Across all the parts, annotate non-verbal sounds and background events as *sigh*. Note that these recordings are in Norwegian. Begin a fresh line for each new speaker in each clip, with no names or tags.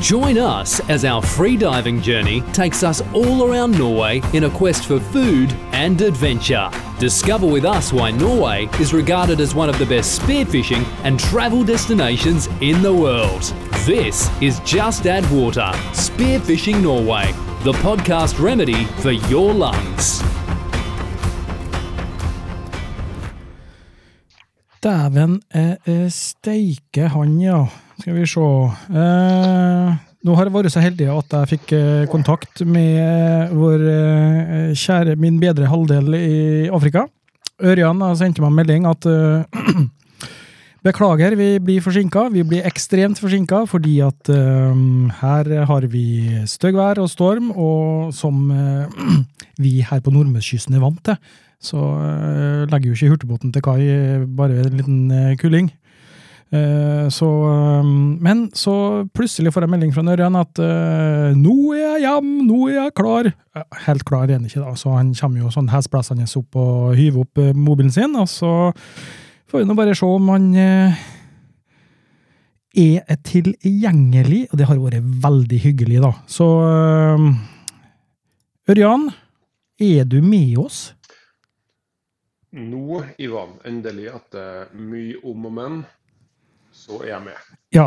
Join us as our free diving journey takes us all around Norway in a quest for food and adventure. Discover with us why Norway is regarded as one of the best spearfishing and travel destinations in the world. This is Just Add Water Spearfishing Norway, the podcast remedy for your lungs.
Dæven eh, eh, steike han, ja. Skal vi se. Eh, nå har jeg vært så heldig at jeg fikk eh, kontakt med eh, vår eh, kjære, min bedre halvdel i Afrika. Ørjan har sendt meg en melding at eh, Beklager, vi blir forsinka. Vi blir ekstremt forsinka fordi at eh, her har vi støggvær og storm, og som eh, *clears throat* vi her på nordmørskysten er vant til, så eh, legger jo ikke hurtigbåten til kai, eh, bare en liten eh, kuling. Eh, så, eh, men så plutselig får jeg melding fra Ørjan at eh, 'nå er jeg hjem, nå er jeg klar'. Ja, Helt klar er han ikke, da. Så han kommer jo sånn hesblæsende opp og hyver opp eh, mobilen sin. og så Får vi nå bare se om han eh, er tilgjengelig. Og det har vært veldig hyggelig, da. Så eh, Ørjan, er du med oss?
Nå, Ivan, endelig etter mye om og men, så er jeg med.
Ja.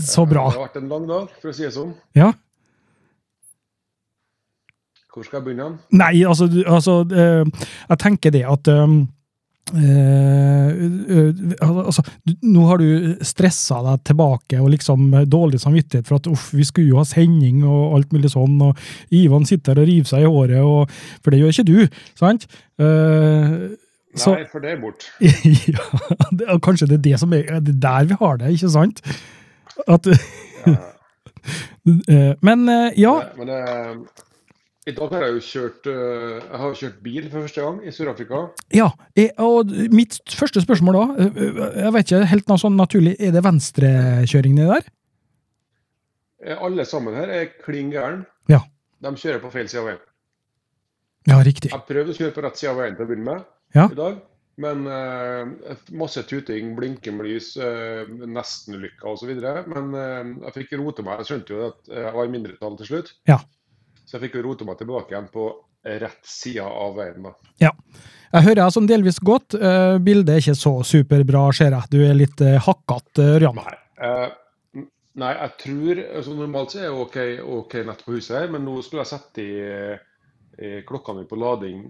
Så bra.
Det har vært en lang dag, for å si det sånn.
Ja.
Hvor skal jeg begynne? hen?
Nei, altså, du- altså eh, Jeg tenker det at eh, eh, eh, altså, du, nå har du stressa deg tilbake og liksom eh, dårlig samvittighet for at uff, vi skulle jo ha sending og alt mulig sånn, og Ivan sitter og river seg i håret, og, for det gjør ikke du, sant? Eh, så,
Nei, for det er bort.
*laughs* ja, det, og kanskje det er det som er er det der vi har det, ikke sant? At,
Eh,
*laughs* eh, men eh, ja,
Men eh, i dag har jeg jo kjørt, eh, jeg har jo kjørt bil for første gang i Sør-Afrika.
Ja, eh, og mitt første spørsmål da, eh, eh, jeg vet ikke helt noe sånn naturlig, er det venstrekjøring nedi der?
Eh, Alle sammen her er klin gæren.
Ja.
De kjører på feil side av veien.
Ja, riktig.
Jeg prøvde å kjøre på rett side av veien til å begynne med
Ja.
i dag, men eh, masse tuting, blinkelys, eh, nestenulykker osv. Men eh, jeg fikk rote meg. Jeg skjønte jo at eh, jeg var i mindretall til slutt,
Ja.
så jeg fikk jo rote meg tilbake igjen på rett side av veien. da.
Jeg hører deg sånn delvis godt, eh, bildet er ikke så superbra, ser jeg. Du er litt eh, hakkat, eh, Ørjan.
Nei. eh, n- nei, jeg tror altså Normalt så er jeg OK, ok nett på huset her, men nå skulle jeg sette i, i klokka mi på lading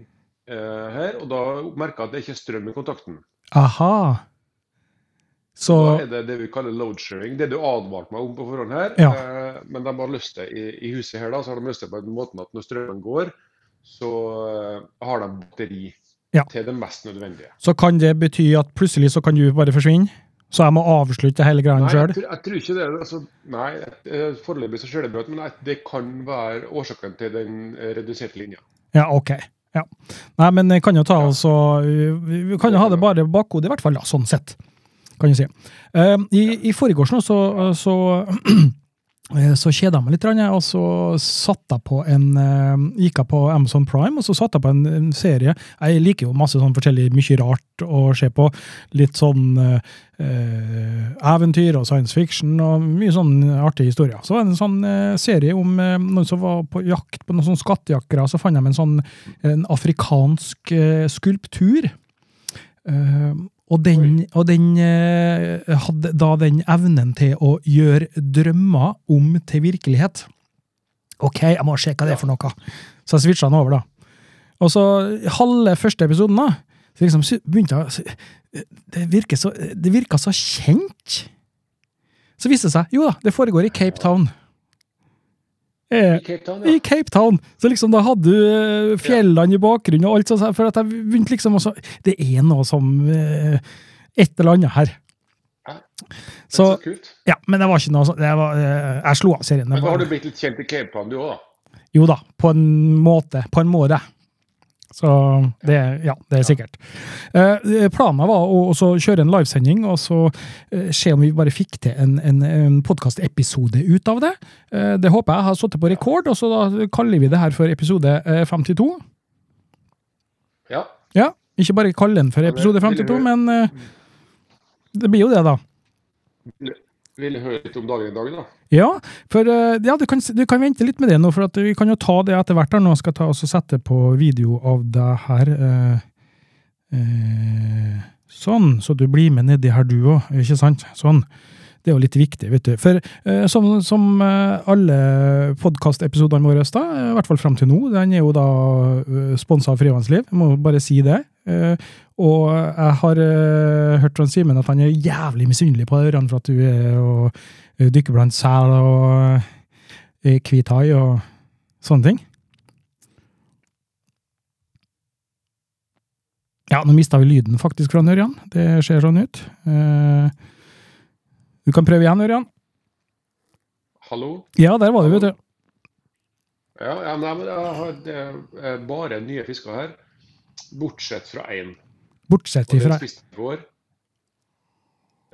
eh, her, og da merka jeg at det ikke er strøm i kontakten.
Aha.
Da
Så,
er det det vi kaller loadsharing. Det du advarte meg om på forhånd her.
Ja.
Eh, men de har løst det i, i huset her, da, så har de løst det på den måten at når strømmen går, så eh, har de batteri
Ja.
til det mest nødvendige.
så kan det bety at plutselig så kan du bare forsvinne? Så jeg må avslutte hele greia
Nei, jeg,
sjøl?
tror- jeg tror ikke det. er- Altså, nei, eh, foreløpig så ser det bra ut, men jeg- det kan være årsaken til den eh, reduserte linja.
Ja, ok. Ja. Nei, men jeg kan jo ta oss og vi- Vi kan jo ha det bare i bakhodet, i hvert fall, da, sånn sett. Kan jeg si. Eh, I, i forgårs nå så, så eh, så kjeda jeg meg litt, grann, jeg, og så satt jeg på en eh, gikk jeg på Amazon Prime og så satt jeg på en, en serie. Jeg liker jo masse sånn forskjellig mye rart å se på. Litt sånn eh, eh, eventyr og science fiction og mye sånn artige historier. Så var det en sånn eh, serie om eh, noen som var på jakt på noen sånne skattejakkere, så fant de en sånn en afrikansk eh, skulptur. Eh, og den, og den eh, hadde da den evnen til å gjøre drømmer om til virkelighet. Ok, jeg må sjekke hva det er for noe. Så jeg switcha den over, da. Og så halve første episoden, da, så liksom sy- begynte jeg å sy- det virker så, det virker så kjent. Så viste det seg, jo da, det foregår i Cape Town. Eh,
I Cape Town,
i
ja.
Cape Town. Så liksom da hadde du eh, fjellene i bakgrunnen og alt sånt. For at jeg begynte liksom også Det er noe som eh, Et eller annet her.
Ja.
Så
Det er så kult.
Ja, men det var ikke noe sånn det var, eh, Jeg slo av serien. Det
Men da har
var,
du blitt litt kjent i Cape Town, du òg, da.
jo da, på en måte. På en måte. Så det, ja, det er sikkert. Eh, planen var å også kjøre en livesending og så eh, se om vi bare fikk til en, en, en podkastepisode ut av det. Eh, det håper jeg har sittet på rekord, og så da kaller vi det her for episode eh, 52.
Ja.
Ja, ikke bare kalle den for
det
episode
ville
52,
vi-
men eh, det blir jo det, da.
Ville høre litt om dagen i dag, da.
Ja, for eh, ja, du, kan, s- du kan vente litt med det nå, for at vi kan jo ta det etter hvert. her Nå skal jeg ta og så sette på video av deg her. eh, eh, sånn, så du blir med nedi her du òg, ikke sant? Sånn. Det er jo litt viktig, vet du. For eh, som, som eh, alle podkastepisodene våre, da, eh, i hvert fall fram til nå, den er jo da sponsa av Frivannsliv, jeg må bare si det. Eh, og jeg har eh, hørt fra Simen at han er jævlig misunnelig på deg, Ørjan, for at du er og eh, dykke blant sel og eh, hvit hai og sånne ting. Ja, nå mista vi lyden faktisk fra Ørjan. Det ser sånn ut. Eh, Du kan prøve igjen, Ørjan.
Hallo?
Ja, der var du, vet du.
Ja, ja nei, men jeg har det er bare nye fisker her. Bortsett fra én.
Bortsett
Og den
ifra
spiste jeg i går.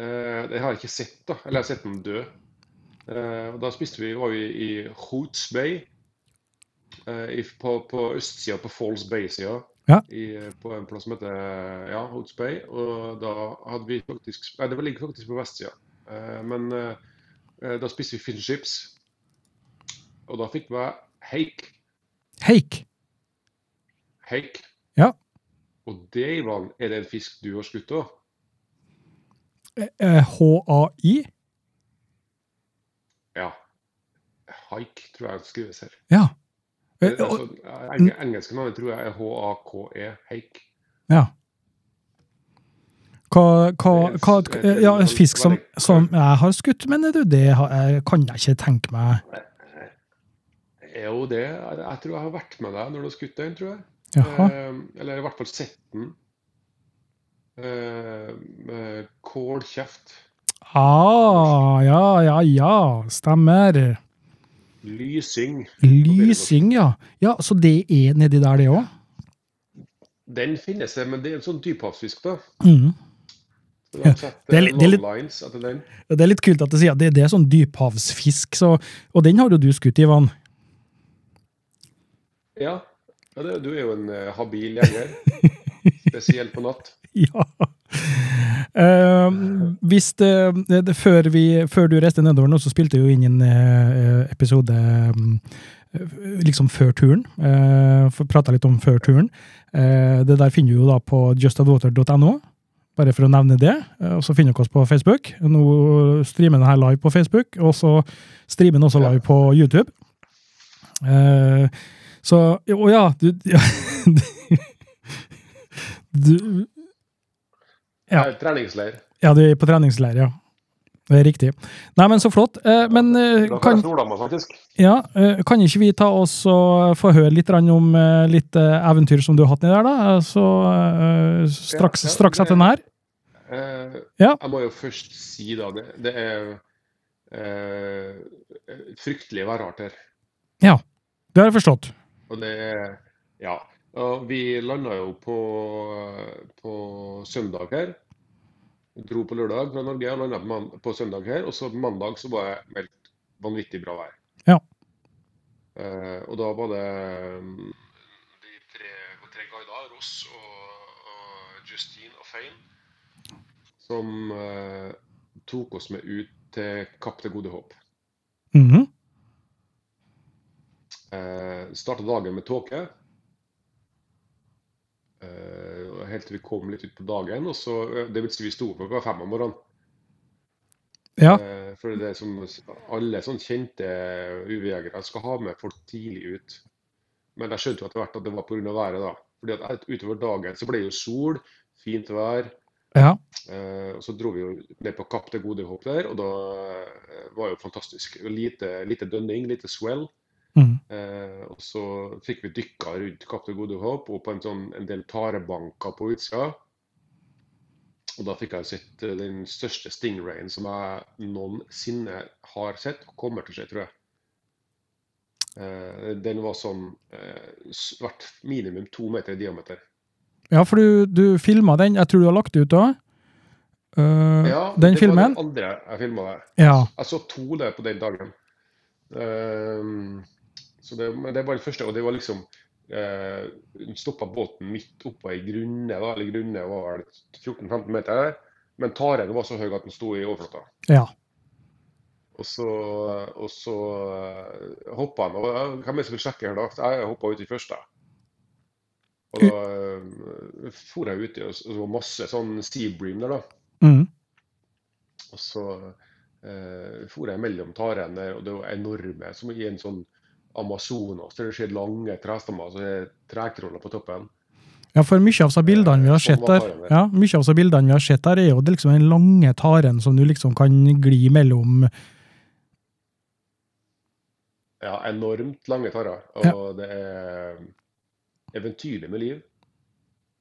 Eh, det har jeg ikke sett, da. Eller jeg har sett den dø. Eh, og da spiste vi, var vi i Hoots Bay. eh, i, på på østsida, på Falls Bay-sida.
Ja.
I, på en plass som heter ja, Hoots Bay. Og da hadde vi faktisk Nei, det ligger faktisk på vestsida. Eh, men eh, eh, da spiste vi fish and chips. Og da fikk vi haik.
Heik.
Haik.
Ja.
Og det, Ivan, er det en fisk du har skutt òg?
Eh, H-a-i.
Ja. Haik, tror jeg det skrives her.
Ja. Eh,
Det er
og-
sånn, eng engelske navnet tror jeg er H-A-K-E. E, Haik.
Ja. Hva, hva, hva eh, Ja, en fisk som, som jeg har skutt, mener du? Det har, jeg kan jeg ikke tenke meg
Er jo det. Jeg jeg tror jeg har vært med deg når du har skutt den, tror jeg.
Jaha.
Eh, eller i hvert fall sett den. Eh, med kålkjeft.
Ah, ja, ja, ja. Stemmer.
Lysing.
Lysing, ja. Ja, Så det er nedi der, det òg?
Den finnes det, men det er en sånn dyphavsfisk, da.
Mm.
Så de har sett
Det er
eh,
litt- det er litt-
longlines etter den.
Det er litt kult at du sier at det, det er sånn dyphavsfisk, så, og den har jo du skutt, Ivan.
Ja, ja det, du er jo en eh, habil
*laughs*
jeger. Spesielt på natt.
Ja. Eh, hvis det, det, det, før, vi, før du reiste nedover nå, så spilte vi jo inn en eh, episode mm, eh, liksom før turen. Uh, Prata litt om før turen. Eh, det der finner du jo da på justadwater.no, bare for å nevne det. Eh, og så finner dere oss på Facebook. Nå streamer den her live på Facebook, og så streamer den også live på YouTube. Eh, så Å ja, du *laughs* ja, du, Ja.
Det er Eh, Treningsleir.
ja, du er på treningsleir, ja. Det er riktig. Nei, men så flott. Eh, Men eh,
Da får
kan,
jeg Nordhammer, faktisk.
ja, eh, kan ikke vi ta oss og få høre litt grann om eh, litt eh, eventyr som du har hatt nedi der, da? Eh, Så eh, straks,
Ja, ja,
straks
det-
etter den her?
Eh,
Ja.
Jeg må jo først si, da Det, det er eh, fryktelig værhardt her.
Ja. Det har jeg forstått.
Og det er Ja. Og vi landa jo på, på søndag her. Dro på lørdag fra Norge og landa på, man- på søndag her. Og så mandag så var det meldt vanvittig bra vær.
Ja.
Eh, og da var det mm, de tre, og tre guider, Ross og, og Justine og Fein, som eh, tok oss med ut til Kapp det gode håp.
Mhm.
Eh, startet dagen med tåke. Eh, og helt til vi kom litt ut på dagen. og så, eh, Det vil si vi sto opp klokka fem om morgenen.
Ja.
Eh, for det er som alle sånn kjente UV-jegere skal ha med folk tidlig ut. Men jeg skjønte jo etter hvert at det var pga. været. da. Fordi at et- Utover dagen så ble det jo sol, fint vær.
Ja.
Eh, og Så dro vi jo ned på Kapp det gode håp der, og da eh, var jo fantastisk. Lite, lite dønning, lite swell.
Mhm.
Eh, og så fikk vi dykka rundt Kapp det gode håp og på en, sånn, en del tarebanker på utsida. Og da fikk jeg sett eh, den største stingrayen som jeg noensinne har sett, og kommer til å se, tror jeg. Eh, den var sånn eh, s- hvert minimum to meter i diameter.
ja, for du, du filma den. Jeg tror du har lagt det ut òg. Mm. den
det var
filmen?
den andre jeg filma der.
Ja.
Jeg så to der på den dagen. Ehm, så det, men det var det første, og det var liksom eh, Hun stoppa båten midt oppå ei grunne, da, eller grunne var vel 14-15 meter, men taren var så høy at den sto i overflata.
ja.
Og så, og så eh, hoppa han. Og ja, hvem er det som vil sjekke her, da? Så Jeg hoppa uti først, da. Og da eh, for jeg uti, og så og så var det masse sånn seabream der, da.
Mm.
Og så eh, for jeg mellom tarene der, og det var enorme, som i en sånn Amazonas, der det skjer lange trestammer, så er det trekroller på toppen.
Ja, for mye av seg bildene vi har
Sånn
sett
var
der,
taren der.
ja, mye av seg bildene vi har sett der, er jo liksom den lange taren som du liksom kan gli mellom.
Ja, enormt lange tarrer, og det er eventyrlig med liv.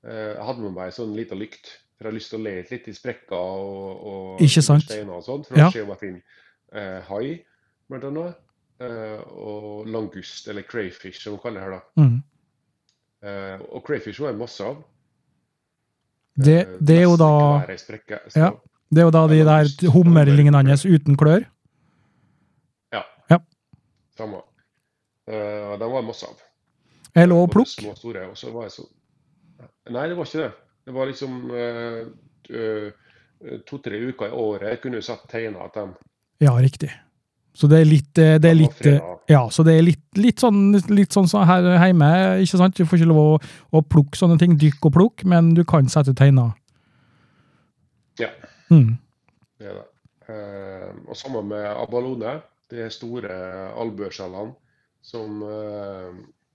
Eh, Jeg hadde med meg sånn liten lykt, for jeg hadde lyst til å lete litt i sprekker og, og
Ikke
under
sant?
steiner og sånt, for
Ja.
å se om jeg finner eh, hai, blant annet, eh, og langust, eller crayfish, som man kaller det her da.
Mm.
Eh, og crayfish var det masse av.
Det,
Eh,
det er jo
nesten
da,
hver ei sprekke. Så,
Ja. det er jo da de der hummerlignende uten klør.
samme. Eh, og de var det masse av.
Er lov å
Både
plukke?
Små og store. Og så var jeg så Nei, det var ikke det. Det var liksom eh, eh, to-tre uker i året jeg kunne sett tegner at de
Ja, riktig. Så det er litt, eh, det er
de var
litt eh,
fredet.
Ja, så det er litt, litt sånn litt sånn som her hjemme, ikke sant? Du får ikke lov å, å plukke sånne ting, dykk og plukk, men du kan sette teiner.
Ja.
Mm.
Det er det. Eh, og sammen med abalone, de store albueskjellene som, eh,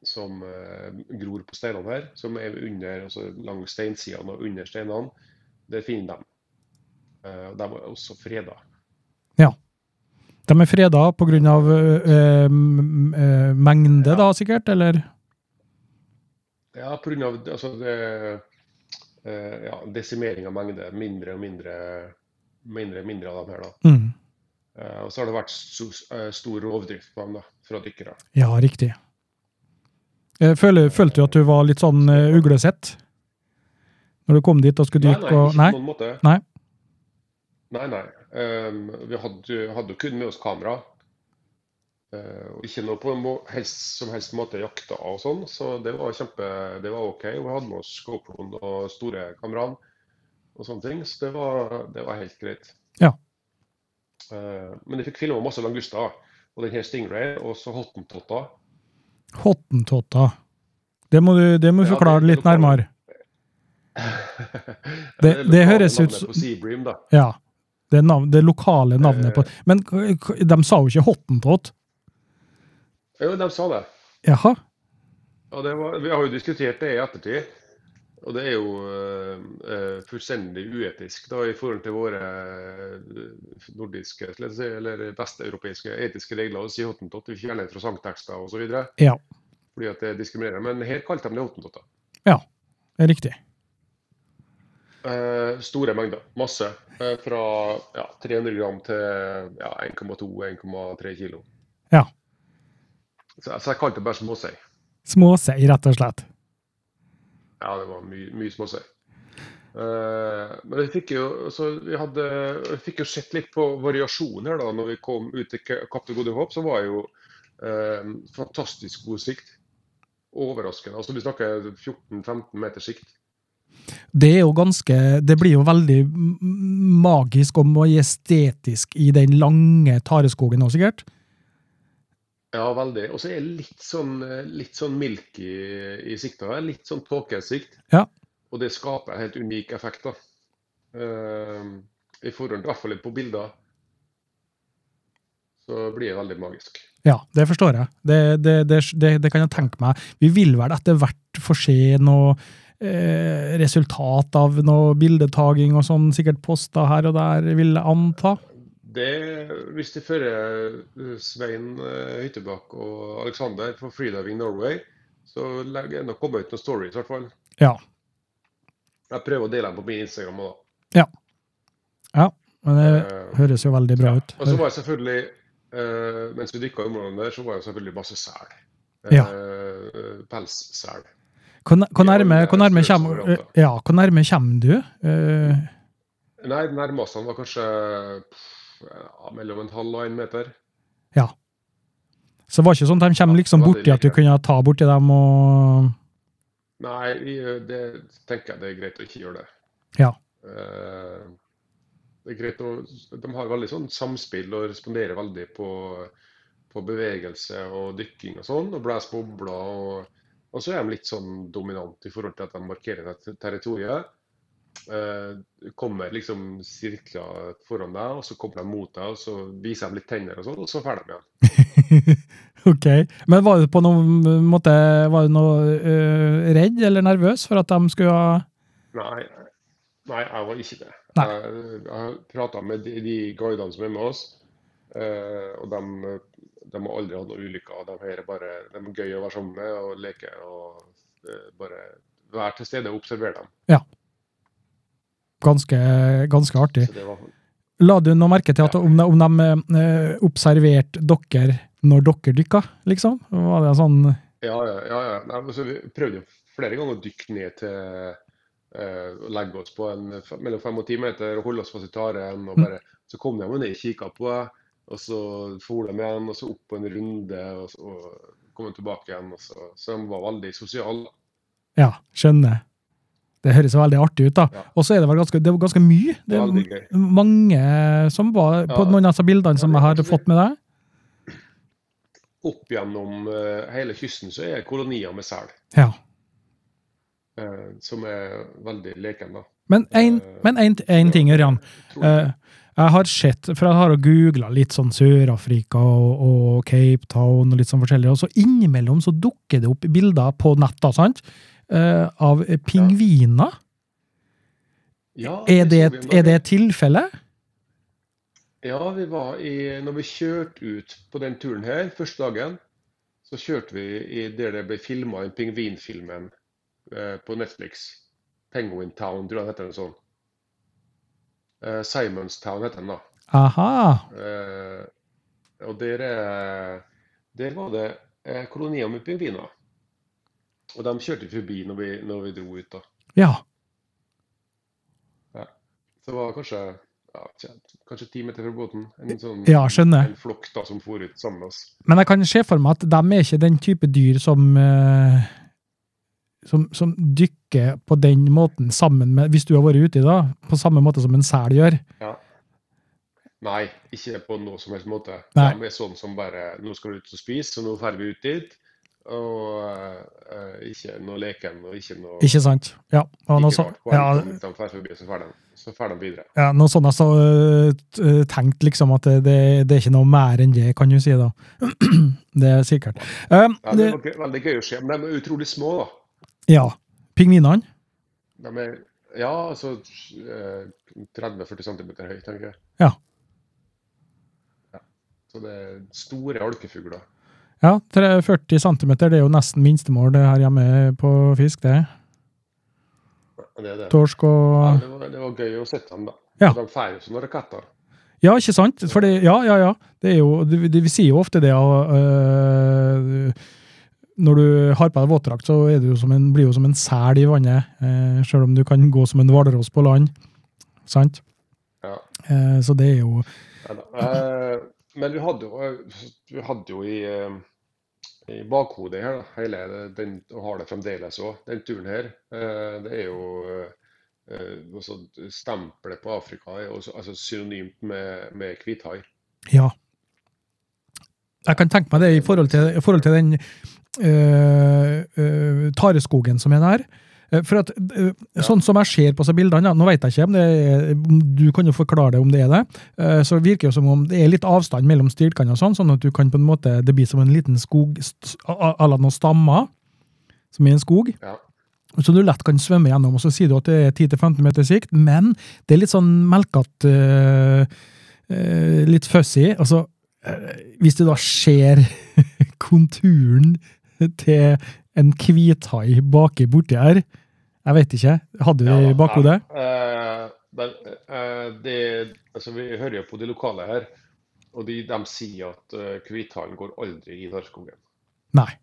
som eh, gror på steinene her, som er under, altså langs steinsidene og under steinene, det finner de. Eh, og de er også freda.
De er freda pga. Øh, øh, mengde,
Ja.
da, sikkert? Eller?
Ja, pga. Altså, det- eh, ja, desimering av mengde. Mindre og mindre, mindre, mindre av dem her, da.
Mm.
Eh, og så har det vært so- eh, stor rovdrift på dem da, fra dykkere.
Ja, riktig. Eh, Føler, følte du at du var litt sånn øh, uglesett? Når du kom dit og skulle
Nei,
dykke
nei,
og
ikke
Nei?
på noen måte.
Nei.
Nei, nei. Ehm, vi hadde, hadde jo kun med oss kamera. Eh, og ikke noe på en må, helst, som helst måte jakta og sånn, så det var kjempe, det var OK. Og vi hadde med oss GoPro-en og store kameraene og sånne ting, så det var, det var helt greit.
Ja.
Eh, men jeg fikk filma masse languster og den her stingrayen og så hottentotter.
Hottentotta. Det må du, det må du
Ja, det-
forklare
det
litt
lokale-
nærmere.
Ja,
*laughs* Det- det
lokale
høres ut
navnet
som-
på Seabream, da.
Ja. Det, nav det lokale navnet
Eh.
på Men k- k- de sa jo ikke hottentott.
Jo, de sa det.
Jaha?
Ja, det var, vi har jo diskutert det i ettertid, og det er jo eh, eh, fullstendig uetisk da, i forhold til våre eh, nordiske, skal jeg si, eller vesteuropeiske etiske regler å si hottentott. Vi fjerner det fra sangtekster osv.
Ja.
fordi at det diskriminerer. Men her kalte de det hottentotter.
Riktig.
Eh, store mengder. Masse. Eh, fra ja, 300 gram til ja, 1,2-1,3 kilo.
Ja.
Så, så jeg kalte det bare småsei.
Småsei, rett og slett.
Ja, det var mye, mye småsøy. Eh, men vi fikk jo, så vi hadde, vi fikk jo sett litt på variasjoner da, når vi kom ut til Ka- Kapp til Gode Håp, så var det jo eh, fantastisk god sikt. Overraskende. Altså, vi snakker 14-15 meter sikt.
Det er jo ganske Det blir jo veldig m- m- magisk og mye estetisk i den lange tareskogen nå, sikkert.
Ja, veldig. Og så er det litt sånn, eh, litt sånn milk i, i sikta her. Litt sånn tåkesikt.
Ja.
Og det skaper en helt unik effekt, da. Eh, I forhold til i hvert fall på bilder, så blir det veldig magisk.
Ja, det forstår jeg. Det, det, det, det, det kan jeg tenke meg. Vi vil vel etter hvert få se noe eh, resultat av noe bildetaging og sånn, sikkert poster her og der, vil jeg anta.
Det, hvis de fører eh, Svein eh, Hyttebakk og Alexander for Freediving Norway, så legger jeg nok komme ut noen stories i hvert fall.
Ja.
Jeg prøver å dele dem på min Instagram også,
Men
da.
det
Eh,
høres jo veldig bra ut.
Og så var jeg selvfølgelig, eh, mens vi dykka i områdene der, så var jeg selvfølgelig masse sel.
Ja.
Eh, Pelssel.
Hvor n- hvor
Vi har
nærme,
en,
hvor
eh,
nærme
størrelse
kommer
variant, da.
ja, hvor nærme kommer du? Eh,
Nei, de nærmeste var kanskje pff, ja, mellom en halv og en meter.
så det var ikke sånn at de kommer liksom
Ja, veldig
borti at du
like.
kunne ta borti dem og
Nei, vi, eh, det tenker jeg det er greit å ikke gjøre det.
Ja.
Eh, Det er greit å, de har veldig sånn samspill og responderer veldig på, på bevegelse og dykking og sånn, og blåser bobler. Og, og så er de litt sånn dominante i forhold til at de markerer et territorium. Eh, kommer liksom sirkler foran deg, og så kommer de mot deg, og så viser de litt tenner og sånn, og så drar de igjen.
Ok. Men var du på noen eh, måte var du noe, eh, redd eller nervøs for at de skulle ha
Nei, nei, jeg var ikke det.
Nei.
Jeg, jeg prata med de, de guidene som er med oss, eh, og de, de har aldri hatt noen ulykker. De her er bare de er gøy å være sammen med og leke og eh, bare være til stede og observere dem.
ganske, ganske artig?
Så det var
La du noe merke til at om de, om de eh, observerte dere når dere dykka, liksom? Var det sånn
Ja, ja, ja. ja. Nei, men så vi prøvde jo flere ganger å dykke ned til eh, å legge oss på en, f- mellom fem og ti meter og holde oss fast i taren. og bare, Så kom de jo ned og kikka på deg, og så for de igjen, og så opp på en runde, og så og kom de tilbake igjen. og Så, så de var veldig sosiale.
Ja, skjønner. Det høres jo veldig artig ut, da.
Ja.
Og så er det vel ganske, det var ganske mye. Det
Veldig
er
gøy.
mange som var på
Ja.
noen av disse bildene som
Ja,
jeg
det er
har
ganske-
fått med deg.
Opp gjennom eh, hele kysten så er kolonier med sel,
Ja.
eh, som er veldig leken. da.
Men en,
Eh,
men en, en ting, Ørjan. Eh, jeg har sett, for jeg har googla litt sånn Sør-Afrika og, og Cape Town og litt sånn forskjellig, og så innimellom så dukker det opp bilder på nett, da, sant? Eh, av pingviner.
Ja,
Er det,
så vi en
et- er
dag.
det et tilfelle?
Ja, vi var i, når vi kjørte ut på den turen her, første dagen, så kjørte vi i der det ble filma, den pingvinfilmen eh, på Netflix. Penguin Town, tror jeg den heter den sånn. Eh, Simons Town heter den da.
Aha.
Eh, og der, er- der var det eh, kolonier med pingviner. Og de kjørte vi forbi når vi, når vi dro ut da.
Ja.
Så det var kanskje, ja, tja, kanskje ti meter fra båten. En sånn,
Ja, skjønner.
en flokk da som for ut sammen med oss.
Men jeg kan se for meg at de er ikke den type dyr som eh, som, som dykker på den måten sammen med Hvis du har vært uti, da. På samme måte som en sel gjør.
Ja. Nei, ikke på noe som helst måte.
Nei.
De er sånn som bare Nå skal du ut og spise, så nå drar vi ut dit. Og eh, ikke noe leken og ikke noe
Ikke sant? Ja. Og noe,
ikke
så,
rart. Bare
ja,
de drar forbi, så drar de, så drar de videre.
ja, noe sånn jeg så eh, t- eh, tenkt liksom at det, det, det er ikke noe mer enn det, kan du si, da. *clears throat* det er sikkert. Eh,
Ja, det
det,
var gøy, veldig gøy å se. Men de er utrolig små, da.
ja. Pingvinene?
De er ja, altså eh, 30-40 cm høye, tenker jeg.
Ja.
Ja. Så det er store alkefugler.
Ja, 40 cm, det er jo nesten minstemål det her hjemme på fisk, det.
Det er det.
Torsk
Ja,
og
det, var, det var gøy å se dem, da.
Ja.
De feirer jo som noen raketter.
Ja, ikke sant? For det, ja, ja, ja. Det er jo, det, det, vi sier jo ofte det og, øh, Når du har på deg våtdrakt, så er du jo som en, blir du jo som en sel i vannet. Uh, Sjøl om du kan gå som en hvalross på land. Sant?
Ja.
Eh, så det er jo
Ja da. Eh, men vi hadde jo, vi hadde jo i, eh, i bakhodet her, da, hele den, og har det fremdeles òg, den turen her. eh, det er jo eh, også Stempelet på Afrika er også, altså synonymt med, med hvithai.
Ja. Jeg kan tenke meg det i forhold til, i forhold til den øh, øh, tareskogen som er der. Eh, For at, øh,
Ja.
Sånn som jeg ser på disse bildene, ja, nå vet jeg ikke om det er, om du kan jo forklare det om det er det, eh, så virker det jo som om det er litt avstand mellom stilkene, og sånn, sånn at du kan på en måte, det blir som en liten skog, st- a- a- à la noen stammer, som er en skog,
Ja.
så du lett kan svømme gjennom. og Så sier du at det er 10-15 meter sikt, men det er litt sånn melkete Litt fussy. Altså, eh, hvis du da ser *laughs* konturen til en hvithai baki borti her Jeg vet ikke. Hadde du det i bakhodet?
Ja, nei, eh, men, eh, det, altså, vi hører jo på de lokale her, og de, de sier at eh, hvithaien går aldri i Narskogen.
Nei.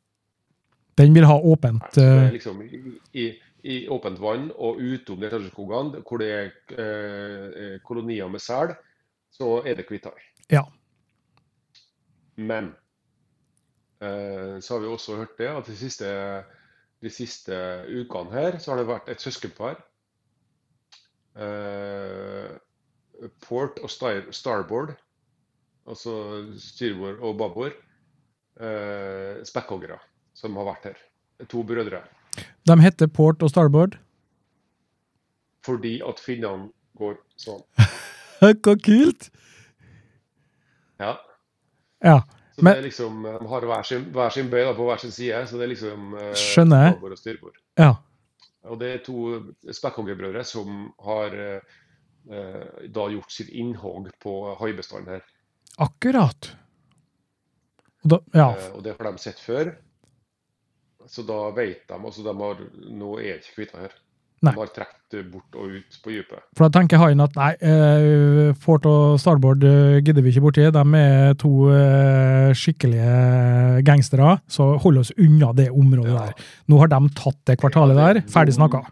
Den vil ha
Nei,
åpent
så det
eh,
er liksom i, i, i åpent vann og utom de tørrskogene, hvor det er eh, eh, kolonier med sel, så er det hvithai.
Ja.
Men eh, så har vi også hørt det at de siste, de siste ukene her, så har det vært et søskenpar eh, port og star starboard, altså styrbord og babord, eh, spekkhoggere som har vært her. To brødre.
De heter Port og Starboard. *laughs*
Fordi at finnene går sånn.
Så kult!
Ja.
Ja.
Så
Men-
det er liksom, eh, De har hver sin, hver sin bøy da, på hver sin side, så det er liksom eh,
Skjønner jeg.
babord og styrbord.
ja.
Og det er to spekkhoggerbrødre som har eh, eh, da gjort sitt innhogg på haibestanden her.
Akkurat. Og da, ja.
Eh, og det har de sett før. Så da vet de altså de har, Nå er ikke kvitta her.
Nei.
De har trukket bort og ut på dypet.
For da tenker haien at nei, eh, Port og Starboard eh, gidder vi ikke borti. De er to eh, skikkelige gangstere, så hold oss unna det området
Ja.
der. Nå har de tatt det kvartalet
Ja,
der.
det er
Ferdig
dum-
snakka.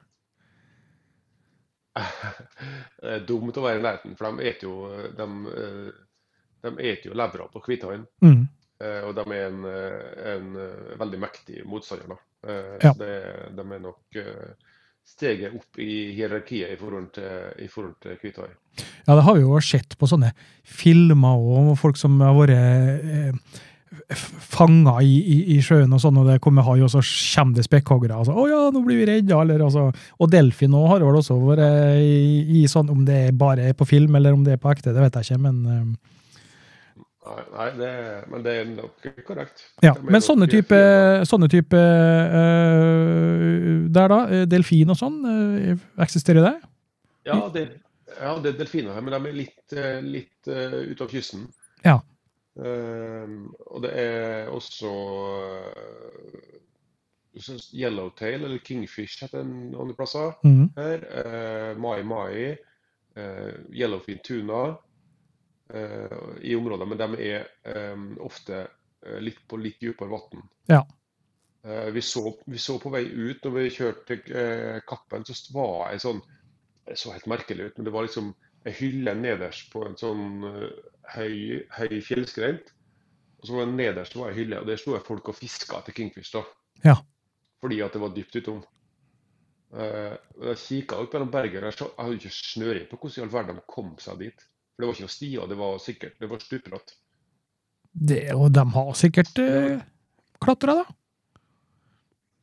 Det er dumt å være i nærheten, for de et jo de, eh, de et jo levra på hvithaien.
Mm.
eh, Og de er en, eh, en eh, veldig mektig motstander. da. Eh,
Ja.
Så det, de er nok eh, steget opp i hierarkiet i forhold til, i forhold til hvithai.
Ja, det har vi jo sett på sånne filmer og om folk som har vært eh, f- fanga i, i, i sjøen og sånn, og det kommer hai, og så kommer det spekkhoggere. Altså, 'Å ja, nå blir vi redda', eller altså Og delfin òg har vel også vært i, i sånn Om det er bare er på film, eller om det er på ekte, det vet jeg ikke, men eh,
Nei, nei det, men det er nok korrekt.
Ja,
De er
men
nok,
sånne
eh,
type,
fiender.
sånne type øh, Der, da? øh, Delfin og sånn? øh, Eksisterer det?
Ja, det, ja, det er delfiner her, men de er litt, eh, litt eh, ut av kysten.
Ja.
Ehm, og det er også eh, så Yellowtail, eller Kingfish heter den andre plasser
Mhm.
her. eh, Mai Mai, eh, Yellowfin tuna eh, i områder, men de er eh, ofte eh, litt på litt dypere vann.
Ja.
Eh, vi, så- vi så på vei ut, når vi kjørte til eh, Kappen, så var ei sånn Det så helt merkelig ut, men det var liksom ei hylle nederst på en sånn eh, høy, høy fjellskrent. Og så var det nederst var ei hylle, og der sto det folk og fiska etter kingfish. da.
Ja.
Fordi at det var dypt utom. Eh, og Jeg kikka ut mellom berget, og jeg så- jeg hadde ikke snøring på hvordan i all verden de kom seg dit. For det var ikke noen stier, det var sikkert det var stupbratt.
Det, og de har sikkert øh, klatra, da?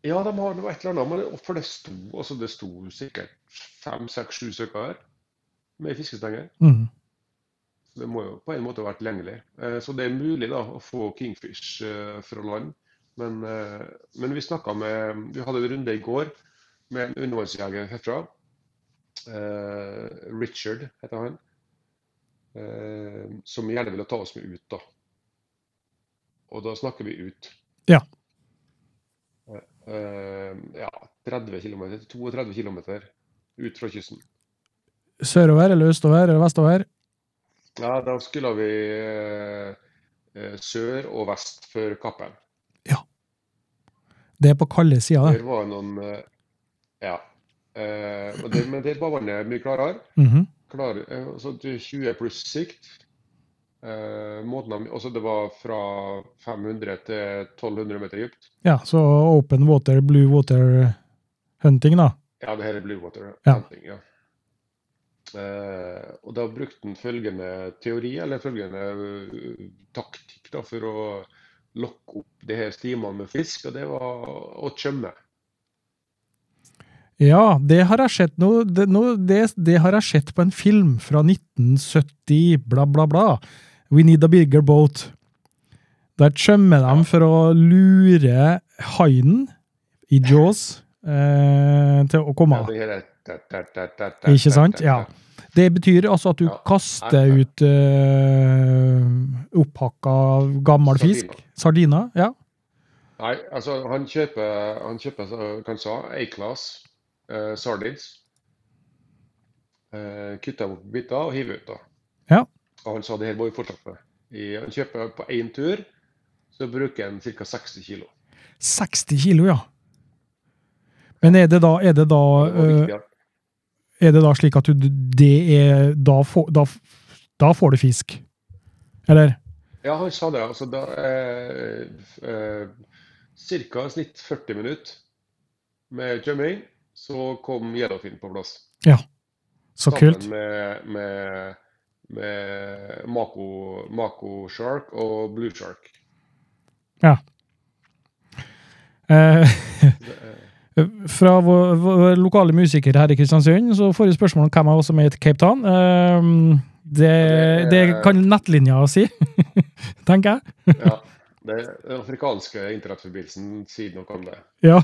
Ja, de har noe et eller annet, men det- for det sto, altså det sto sikkert fem, seks, sju stykker her med fiskestenger.
Mhm.
Så det må jo på en måte ha vært tilgjengelig. Eh, Så det er mulig da å få kingfish eh, fra land. Men, eh, men vi snakka med Vi hadde en runde i går med en undervannsjeger herfra. Eh, Richard heter han. Eh, som gjerne ville ta oss med ut, da. Og da snakker vi ut.
Ja.
Eh, ja, 30 km, 32 km ut fra kysten.
Sørover eller østover eller vestover?
Ja, da skulle vi eh, eh, sør og vest for Kappen.
Det er på kalde sida, det.
Der var noen eh, Ja. Eh, og det, men der var vannet mye klarere.
Mhm.
Klar, eh, altså du- 20 pluss sikt. Eh, måten av, også det var fra 500 til 1200 meter dypt.
Ja, så open water, blue water hunting, da.
Ja, det her er blue water.
Ja.
Camping, ja. Eh, og da brukte han følgende teori, eller følgende eh, taktikk, da, for å lokke opp de her stimene med fisk, og det var å tømme.
Ja, det har jeg sett nå, det, nå, det, det har jeg sett på en film fra 1970, bla, bla, bla. We need a bigger boat. Der tømmer de for å lure haien i Jaws eh, til å komme
Ja,
av.
det her er ta, ta, ta, ta, ta,
Ikke
ta,
sant?
ta,
Ja.
ta.
Det betyr altså at du
Ja.
kaster ut eh, opphakka gammel fisk. Sardiner. Ja.
Nei, altså, han kjøper, han kjøper så- hva han sa, A-class eh, sardines. Eh, kutter opp i biter og hiver ut, da.
Ja.
Og han sa det her må vi fortsette med. I, han kjøper på én tur, så bruker han ca. 60 kilo.
60 kilo, ja. Men er det da, er det da
Det var
eh,
viktig, ja.
Er det da slik at du, det er da, får- da, f- da får du fisk? Eller?
Ja, han sa det. Altså, da, eh, f- eh, cirka i snitt 40 minutter med tømming, så kom Yellowfin på plass.
Ja. Så
Sammen
kult.
med, med med Mako, Mako Shark og Blue Shark.
Ja. Eh,
Det er-
fra vår, vår lokale musiker her i Kristiansund så får vi spørsmål om hvem av oss som er i Cape Town. Eh, det, det kan nettlinja si, *laughs* tenker jeg.
Ja, det, den afrikanske internettforbindelsen sier noe om det.
*laughs* Ja,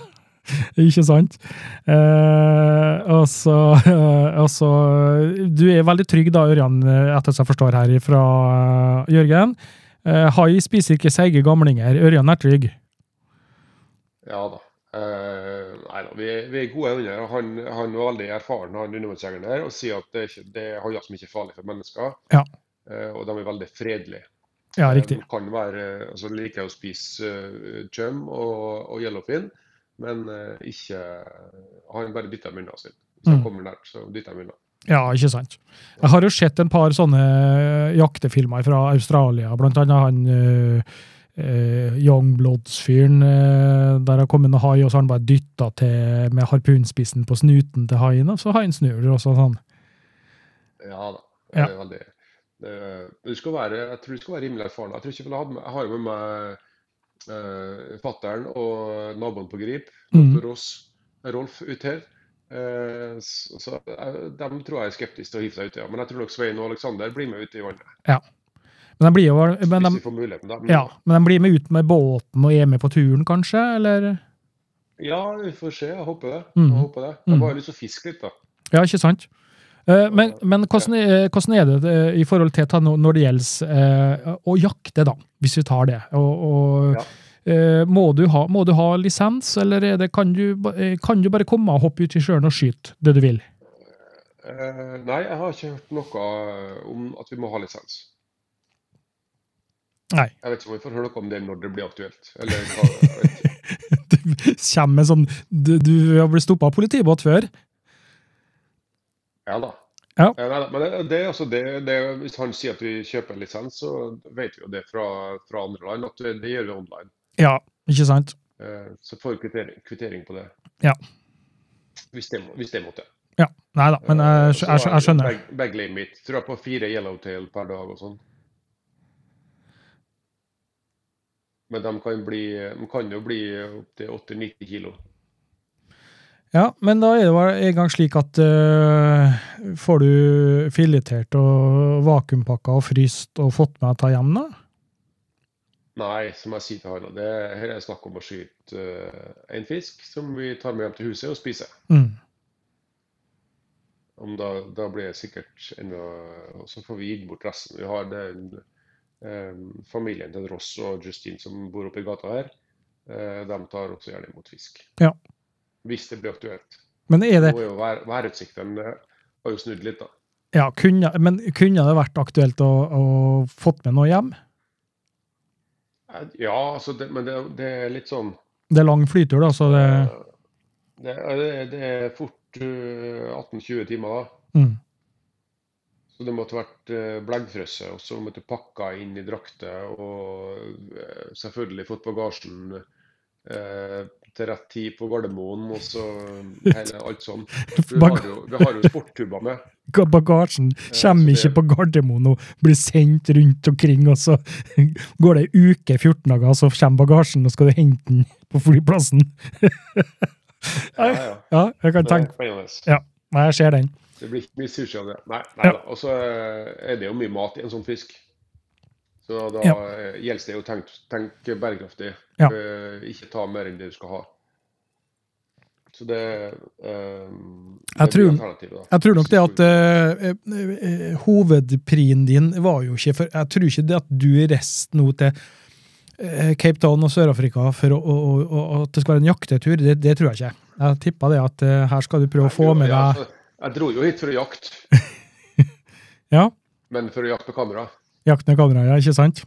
ikke sant? Eh, og så- eh, og så- Du er veldig trygg da, Ørjan, eh, etter som jeg forstår her fra eh, Jørgen. Eh, hai spiser ikke seige gamlinger. Ørjan er trygg.
Ja da. Eh, nei da, vi, vi er gode hunder. og Han, han var veldig erfaren, han undervannsjegeren her, og sier at det er, ikke, det er haier som ikke er farlige for mennesker.
Ja.
Eh, og de er veldig fredelige.
Ja,
Eh,
riktig.
Kan være, altså de liker å spise eh, chum og, og yellowfin, men eh, ikke Han bare dytter dem unna. sin. Hvis de
Mm.
kommer nært, så dytter de unna.
Ja, ikke sant. Jeg har jo sett en par sånne eh, jaktefilmer fra Australia, blant annet han eh, eh, Youngbloods-fyren eh, der har kommet en hai, og så har han bare dytta til med harpunspissen på snuten til haien, og så haien snur, og så sånn.
Ja da.
Ja.
Det er veldig det- Du skal være, jeg tror du skal være rimelig erfaren. Jeg tror ikke jeg ville hatt med, jeg har jo med meg uh, fattern og naboen på Grip,
Mm.
Dr. Ross, Rolf, ut her. Eh, så så eh, dem tror jeg er skeptiske til å hive seg uti. Ja. Men jeg tror nok Svein og Aleksander blir med ut i vannet
Men de blir jo men
hvis
de,
de får muligheten. da. Men-
Ja, men de blir med ut med båten og er med på turen, kanskje? Eller?
ja, vi får se. Jeg håper det.
Mm.
Jeg håper det. Jeg
Mm.
bare har lyst til å fiske litt, da.
Ja, ikke sant? Eh, Men, men hvordan, er- hvordan er det eh, i forhold til ta- når det gjelder eh, å jakte, da? Hvis vi tar det. Og, og, eh, må, du ha, må du ha lisens, eller er det, kan, du, ba- eh, kan du bare komme og hoppe ut i sjøen og skyte det du vil?
Eh, nei, jeg har ikke hørt noe eh, om at vi må ha lisens.
Nei.
Jeg vet ikke om vi får høre noe om det når det blir aktuelt. Eller hva, jeg vet ikke.
*laughs* Du kommer med sånn Du, du har blitt stoppa av politibåt før?
Ja da.
*laughs* Ja.
Eh, nei da, Men det, det, er altså det, det, hvis han sier at vi kjøper en lisens, så vet vi jo det fra, fra andre land at det, det gjør vi online.
Ja, ikke sant?
Eh, så får vi kvittering, kvittering på det.
Ja.
Hvis det, må- hvis det måtte.
Ja. Nei da, men
Eh,
jeg,
så
skj- jeg, skj- jeg
er det
skjønner.
Bag, bag limit. Tror jeg på fire yellowtail per dag og sånn. Men de kan, bli, de kan jo bli opptil 80-90 kilo.
Ja, men da er det vel en gang slik at øh, får du filetert og vakuumpakka og fryst og fått med deg hjem, da?
Nei, som jeg sier til han, og det her er snakk om å skyte eh, en fisk som vi tar med hjem til huset og spiser.
Mm.
Om da, da blir det sikkert enda Og så får vi gitt bort resten. Vi har den eh, familien til Ross og Justine som bor oppe i gata her. Eh, de tar også gjerne imot fisk.
Ja.
Hvis det blir aktuelt.
Men, er
Nå
det,
er jo vær, værutsiktene eh, har jo snudd litt, da.
ja, kunne, men kunne det vært aktuelt å, å fått med noe hjem?
Eh, Ja, altså, det, men det, det er litt sånn
Det er lang flytur, da, så det
eh, det, er- det er fort eh, 18-20 timer, da.
mm.
Så det måtte vært eh, bleggfrøsse, og så måtte pakka inn i drakter, og eh, selvfølgelig fått bagasjen eh, til rett tid på Gardermoen, og så hele alt sånn. Vi har jo, vi har jo sporttuber med.
Bagasjen kommer
så
ikke
det-
på Gardermoen og blir sendt rundt omkring, og så *laughs* går det ei uke, 14 dager, og så kommer bagasjen, og skal du hente den på flyplassen. *laughs*
Ja, ja.
Ja, jeg kan
Det er
tenke
spennende.
Ja, nei, jeg ser den.
Det blir ikke mye sushi av det. Nei, nei
Ja.
da. Og så eh, er det jo mye mat i en sånn fisk. Så da
Ja.
eh, gjelder det jo å tenke tenk bærekraftig.
Ja.
Eh, Ikke ta mer enn det du skal ha. Så det, eh,
Jeg
det blir
tror-
alternativet, da.
Jeg tror nok det at eh, eh, eh, hovedprien din var jo ikke for Jeg tror ikke det at du reiste nå til eh, Cape Town og Sør-Afrika for å, å, å, å, at det skal være en jaktetur, det, det tror jeg ikke. Jeg tippa det at eh, her skal du prøve å få med
Ja,
deg
altså, Jeg dro jo hit for å jakte,
Ja,
men for å jakte på kamera.
jakten og kameraet, ja, ikke sant?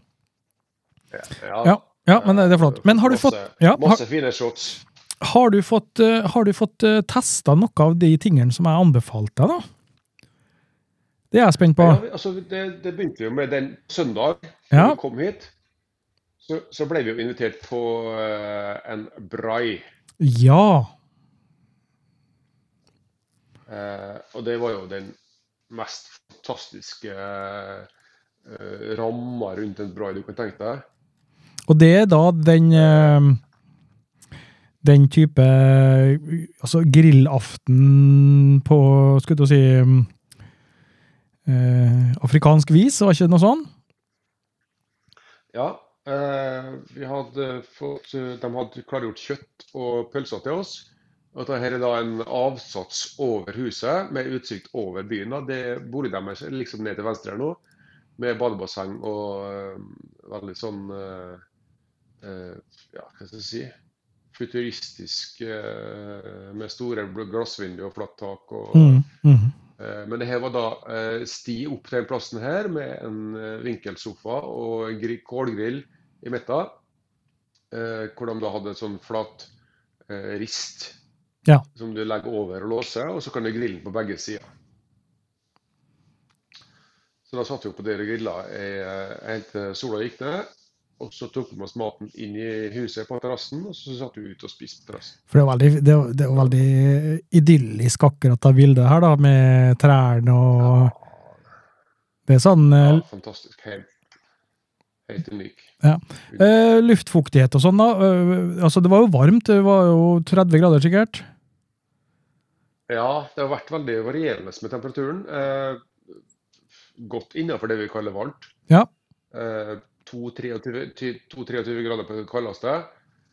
Ja, ja men det er flott. Men har du fått,
Eh, Masse,
ja, har,
masse fine shots.
har du fått, eh, har du fått eh, testa noe av de tingene som jeg anbefalte deg, da? Det er jeg spent på.
Ja, vi- altså, det, det begynte jo med den søndag da
Ja.
vi kom hit. Så, så ble vi jo invitert på eh, en brai.
Ja.
Eh, og det var jo den mest fantastiske eh, rammer rundt en brai du kan tenke deg.
Og det er da den eh, Den type Altså grillaften på Skulle jeg til å si eh, Afrikansk vis, var ikke det noe sånn?
Ja, eh, vi hadde fått, eh, de hadde klargjort kjøtt og pølser til oss. Og dette her er da en avsats over huset med utsikt over byen. da. Det Boligen deres er liksom ned til venstre her nå, med badebasseng og eh, veldig sånn eh, eh, Ja, hva skal jeg si Futuristisk eh, med store glassvinduer og flatt tak. og...
Mm, mhm.
Eh, Men det her var da eh, sti opp til den plassen her med en eh, vinkelsofa og en gri- kålgrill i midten. eh, Hvor de da hadde en sånn flat eh, rist
Ja.
som du legger over og låser, og så kan du grille den på begge sider. Så da satt vi opp på der og grilla eh, helt til sola gikk ned. Og så tok vi med oss maten inn i huset på terrassen, og så satt vi ute og spiste på terrassen.
For det er veldig, det er, det er veldig idyllisk akkurat det bildet her, da, med trærne og Det er sånn eh,
Ja, fantastisk. Helt, helt unik.
eh, luftfuktighet og sånn, da. Eh, altså, det var jo varmt, det var jo 30 grader sikkert.
Ja, det har vært veldig varierende med temperaturen. Eh, godt innenfor det vi kaller varmt.
Ja.
Eh, 2-23 ty- 2-23 grader på det kaldeste.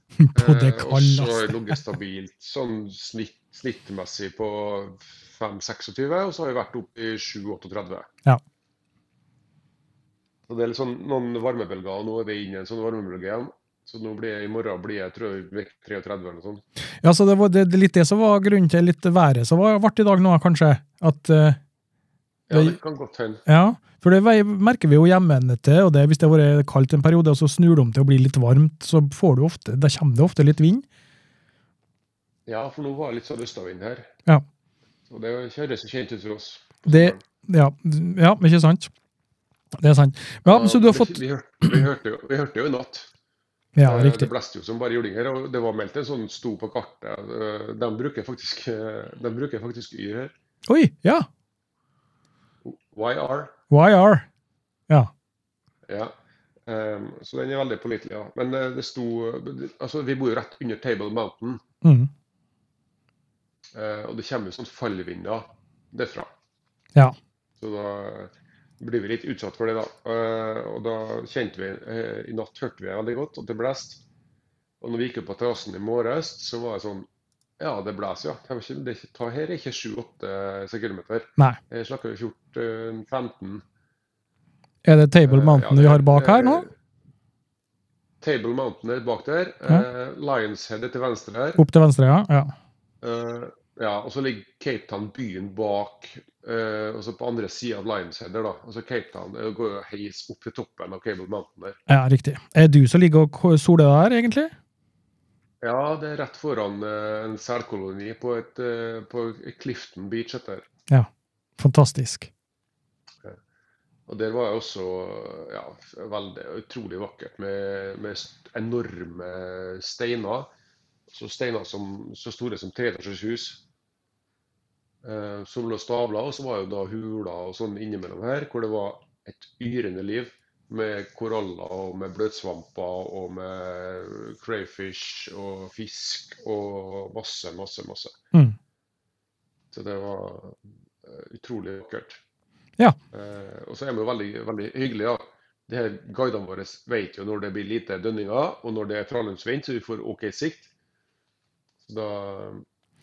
*laughs* På det
Eh, og så har
kaldeste.
det ligget stabilt sånn snitt, snittmessig på 5-26, og så har vi vært oppe i 7-38.
Ja.
Så det er litt sånn noen varmebølger, og nå er vi inne i en sånn varmebølge igjen. Så nå blir jeg, i morgen blir jeg, tror jeg, vekk 33 eller noe sånt.
Ja, så det var det, det er litt det som var grunnen til litt været som var vart i dag nå, kanskje. At, eh,
Ja,
Det-
det kan godt hende.
ja, for det vei- merker vi jo hjemmene til, og det, hvis det har vært kaldt en periode, og så snur det om til å bli litt varmt, så får du ofte, da kommer det ofte litt vind.
Ja, for nå var det litt sånn østavind her.
Ja.
Og det kjøres jo kjent ut for oss.
Det- Ja, ja ikke sant? Det er sant. Ja, men så du har fått...
Vi, hørte, vi, hørte, jo, vi hørte jo i natt.
Ja,
Eh,
riktig.
Det blåste jo som bare juling her, og det var meldt en sånn sto på kartet. Eh, De bruker faktisk, eh, de bruker faktisk Y her.
Oi, ja.
YR.
YR. Ja.
Ja. Eh, Så den er veldig pålitelig, ja. Men eh, det sto Altså, vi bor jo rett under Table Mountain,
Mm.
eh, og det kommer jo sånn fallvinder derfra.
Ja.
Så da blir vi litt utsatt for det, da. Eh, Og da kjente vi eh, I natt hørte vi veldig godt at det blåste. Og når vi gikk opp på terrassen i morges, så var det sånn Ja, det blåser, ja. Det er ikke, det er ikke, ta her er ikke 7-8 sekundmeter.
Nei.
Jeg snakker jo eh, 14-15.
Er det Table
Eh,
Mountain vi har bak her nå?
Table Mountain er bak der.
Ja.
Eh, Lionshead er til venstre her.
Opp til venstre, ja. ja.
Eh, ja, og så ligger Cape Town byen bak, eh, og så på andre sida av Lionshead der, da. Altså Cape Town eh, går jo heis opp til toppen av Cable Mountain der.
Ja, riktig. Er du som ligger og k- soler der, egentlig?
Ja, det er rett foran eh, en selkoloni på, et, eh, på Clifton Beach heter det.
Fantastisk.
Og der var jeg også ja, veldig utrolig vakkert med, med st- enorme steiner. Så steiner som, så store som treetasjers hus. Eh, som lå stabla, og så var jo da huler og sånn innimellom her, hvor det var et yrende liv. Med koraller og med bløtsvamper og med crayfish og fisk og masse, masse, masse.
Mm.
Så det var eh, utrolig vakkert.
Ja.
Eh, og så er vi jo veldig, veldig hyggelige, da. Det her Guidene våre vet jo når det blir lite dønninger, og når det er trallhundsvind, så vi får OK sikt. Så da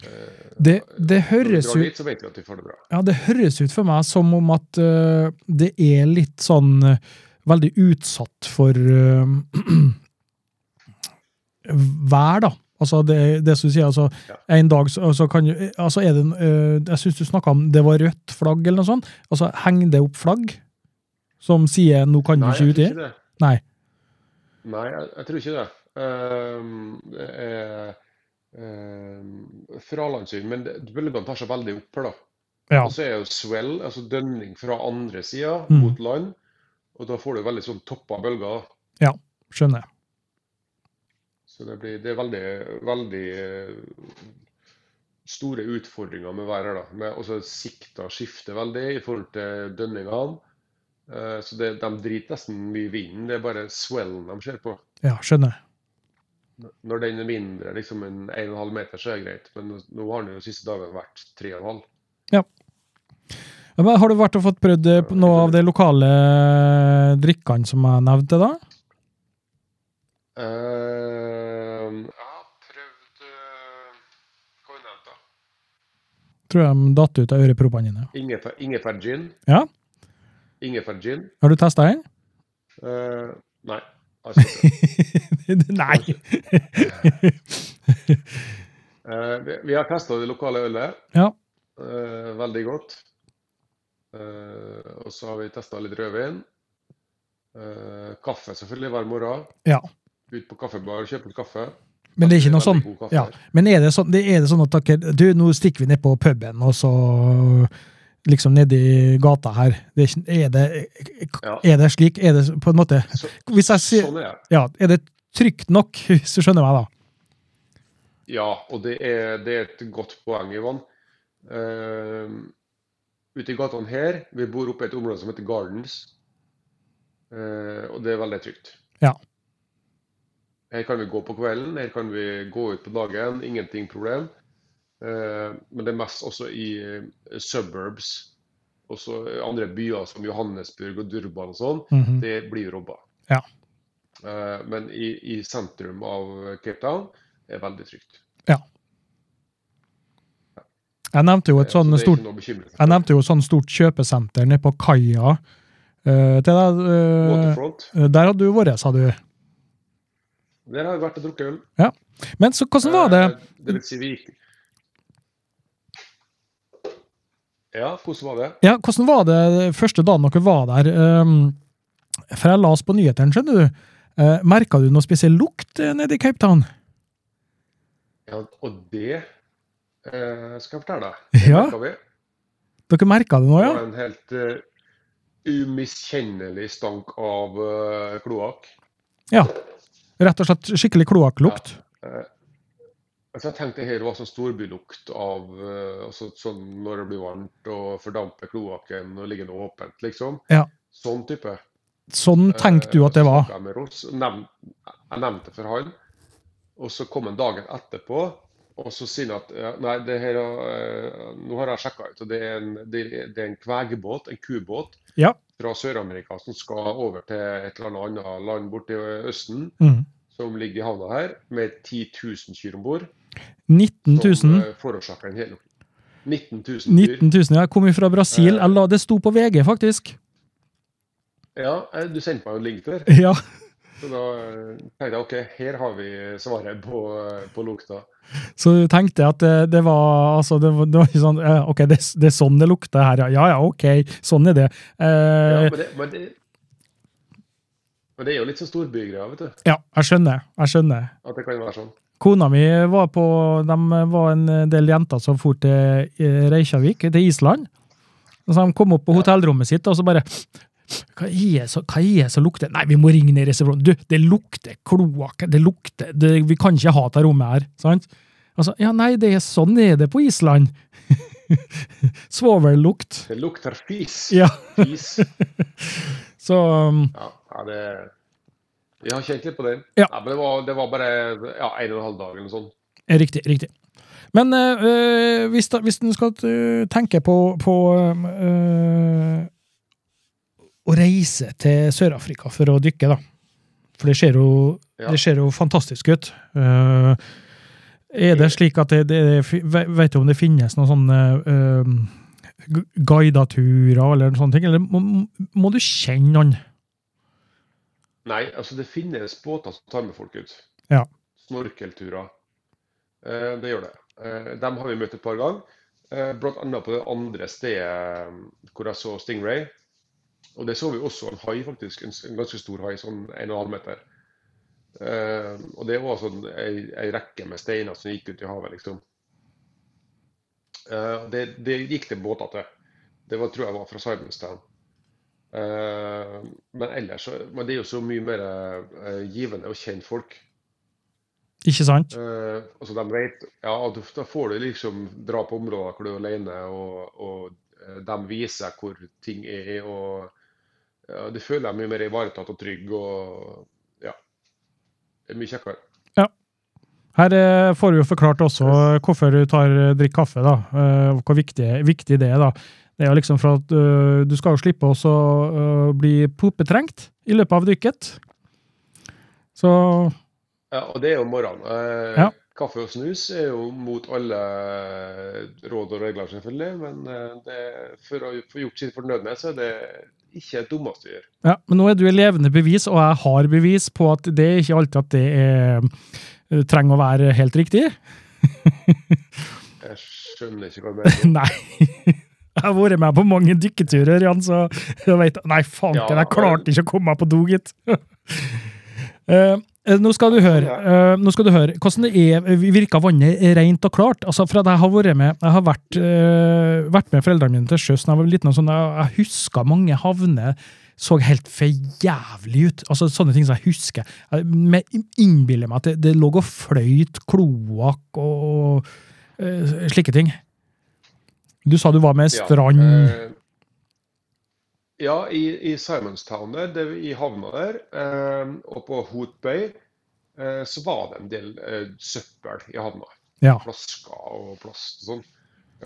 eh,
Det, det
når vi
høres
drar
ut
dit, så vet vi at vi får det bra.
Ja, det høres ut for meg som om at eh, det er litt sånn eh, Veldig utsatt for eh, *clears throat* vær, da. Altså det, det som du sier, altså
Ja.
en dag så altså kan jo altså er det, en, eh, Jeg syns du snakka om det var rødt flagg eller noe sånt. Altså henger det opp flagg som sier 'nå kan du
Nei,
ikke
jeg
uti'?
tror ikke det.
Nei.
Nei, jeg, jeg tror ikke det. Ehm, det er ehm, fralandsvind, men det- bølgene tar seg veldig opp her, da.
Ja.
Og så er jo swell, altså dønning fra andre sida
Mm.
mot land, og da får du veldig sånn toppa bølger. da.
Skjønner.
Så det, blir, det er veldig, veldig eh, store utfordringer med været. da. Med, også Sikta skifter veldig i forhold til dønningene. Eh, så det, de driter nesten mye i vinden. Det er bare swellen de ser på.
Ja, skjønner.
Når den er mindre, liksom en 1,5 meter, så er det greit. Men nå har den jo de siste dagene vært 3,5.
Ja, men har du vært og fått prøvd eh, på noe av de lokale drikkene som jeg nevnte, da?
Eh, jeg har prøvd eh, Hva vi nevnte da?
Tror jeg de datt ut av øreproppene dine.
Ingefær- Ingefærgin.
Ja?
Ingefærgin.
Har du testa den?
Eh, nei. Altså,
*laughs* Nei!
eh, vi, vi har testa det lokale ølet.
Ja.
Eh, veldig godt. Eh, og så har vi testa litt rødvin. Eh, kaffe selvfølgelig hver morgen.
ja.
Ut på kaffebar, kjøpe litt kaffe.
Men det er ikke noe sånn
Veldig god kaffe.
ja. Men er det sånn, det- er det sånn at dere Du, nå stikker vi ned på puben, og så liksom nedi gata her. Det er, ikke- er,
Ja.
det, er det slik? Er det på en måte
Så,
Hvis jeg sier
sånn er det.
Ja, er det trygt nok, *laughs* hvis du skjønner meg, da?
Ja, og det er, det er et godt poeng, Ivan. Eh, ute i gatene her Vi bor oppe i et område som heter Gardens. Eh, og det er veldig trygt.
Ja.
Her kan vi gå på kvelden, her kan vi gå ut på dagen. Ingenting problem. Eh, men det er mest også i eh, suburbs. Også andre byer som Johannesburg og Durban og sånn.
Mhm.
Det blir robba.
Ja.
Eh, men i, i sentrum av Cape Town er det veldig trygt.
Jeg nevnte jo et
Eh, så
sånn
det er
stort
ikke noe å bekymre
jeg
seg for.
nevnte jo et sånn stort kjøpesenter nede på kaia eh, til deg. eh,
Waterfront.
der hadde du vært, sa du.
Der har vi vært og drukket øl.
Men så hvordan Sånn var det?
Eh, Det vil si vi gikk Ja, hvordan var det?
Ja, hvordan var det første dagen dere var der? Ehm, For jeg las på nyhetene, skjønner du. Uh, Merka du noe spesiell lukt eh, nede i Cape Town?
Ja, og det eh, skal jeg fortelle deg. Det
Ah, Ja.
merket vi.
Dere merka det nå,
Det
ja?
var en helt eh, umiskjennelig stank av eh, kloakk.
Ja. Rett og slett skikkelig kloakklukt?
Altså, jeg tenkte her var sånn storbylukt av eh, altså, sånn når det blir varmt og fordamper kloakken og ligger noe åpent, liksom.
Ja.
Sånn type. Eh,
Sånn tenkte du at det var?
Jeg, med Ross, nevn, jeg nevnte for han, og så kom han dagen etterpå. Og så sier han at ja, nei, det her, eh, nå har jeg sjekka ut, og det er en, det er det er en kvegebåt, en kubåt,
Ja.
fra Sør-Amerika som skal over til et eller annet annet land borti Østen,
Mm.
som ligger i havna her, med 10 000 kyr om bord.
19
Som
000.
eh, forårsaker en hel 19 000 dyr.
19 000, ja. Jeg kom jo fra Brasil. Jeg la, det sto på VG, faktisk.
Ja, eh, du sendte meg jo en link der.
Ja.
Så da eh, tenkte jeg ok, her har vi svaret på, eh, på lukta.
Så du tenkte at det, det var altså, det, var- det var ikke sånn eh, OK, det, det er sånn det lukter her, ja. Ja ja, OK. Sånn er det.
Ja,
Eh,
men, det, men, det, men det er jo litt sånn storbygreier, vet du.
ja, jeg skjønner. Jeg skjønner.
At det kan være sånn.
Kona mi var på De var en del jenter som for til eh, Reykjavik, til Island. Og så De kom opp på hotellrommet sitt og så bare Hva er det som- hva er det som lukter Nei, vi må ringe ned i resepsjonen. Du, det lukter kloakk. Det lukter det, Vi kan ikke ha det rommet her. Sant? Altså, ja, nei, det er sånn er det på Island. *laughs* Svovellukt.
Det lukter fis.
Ja,
Fis.
så um,
Ja, ja det Vi har kjent litt på den.
Ja.
men det var, det var bare ja, en og en halv dag eller noe sånt.
Eh, Riktig. riktig. Men eh, eh, hvis, da, hvis en skal eh, tenke på, på eh, å reise til Sør-Afrika for å dykke, da. For det ser jo,
Ja.
det ser jo fantastisk ut. Eh, er det slik at det, det fi- ve- Vet du om det finnes noen sånne eh, gu- guidaturer eller sånne ting? Eller må, må du kjenne noen?
Nei, altså det finnes båter som tar med folk ut.
Ja.
Snorkelturer. Eh, det gjør det. Eh, dem har vi møtt et par ganger. Eh, blant annet på det andre stedet eh, hvor jeg så Stingray. Og det så vi også en hai, faktisk. En, s- en ganske stor hai, sånn 1,5 meter. Eh, og det var sånn ei, ei rekke med steiner som gikk ut i havet, liksom. Eh, det, det gikk det båter til. Det var, tror jeg var fra Simonstown. Eh, men ellers så, men det er jo så mye mer eh, givende å kjenne folk.
Ikke sant?
Eh, altså de vet, ja, at du- da får du liksom dra på områder hvor du er alene, og, og eh, de viser hvor ting er. og ja, Du føler deg mye mer ivaretatt og trygg. og ja, Det er mye kjekkere.
Her eh, får du jo forklart også eh, hvorfor du tar eh, drikk kaffe, da. eh, og Hvor viktig, viktig det er, da. Det er jo liksom for at eh, du skal jo slippe å så, eh, bli popetrengt i løpet av dykket. Så
Ja, og det er jo morgenen. Eh,
Ja.
Kaffe og snus er jo mot alle eh, råd og regler, selvfølgelig. Men eh, det, for å få gjort sitt fornødne, så er det ikke det dummeste å gjøre.
Ja, men nå er du i levende bevis, og jeg har bevis på at det er ikke alltid at det er, eh, trenger å være helt riktig.
Jeg skjønner ikke hva
*laughs*
du mener.
Nei. Jeg har vært med på mange dykketurer, Jan, så jeg vet Nei, faen,
Ja,
jeg
vel.
klarte ikke å komme meg på do, gitt. *laughs* Eh, eh, nå skal du høre eh, nå skal du høre, hvordan det er, eh, virker vannet rent og klart? altså for at Jeg har vært med jeg har vært, eh, vært med foreldrene mine til sjøs da jeg var liten. og sånn, Jeg, jeg husker mange havner så helt for jævlig ut. altså Sånne ting som jeg husker. Jeg med- innbiller meg at det, det lå og fløyt kloakk og, eh, slike ting. Du sa du var med
Ja,
strand
eh, ja, i, i Simonstown der, det, i havna der, eh, og på Hoot Bay, eh, så var det en del eh, søppel i havna.
Ja.
Flasker og plast og sånn.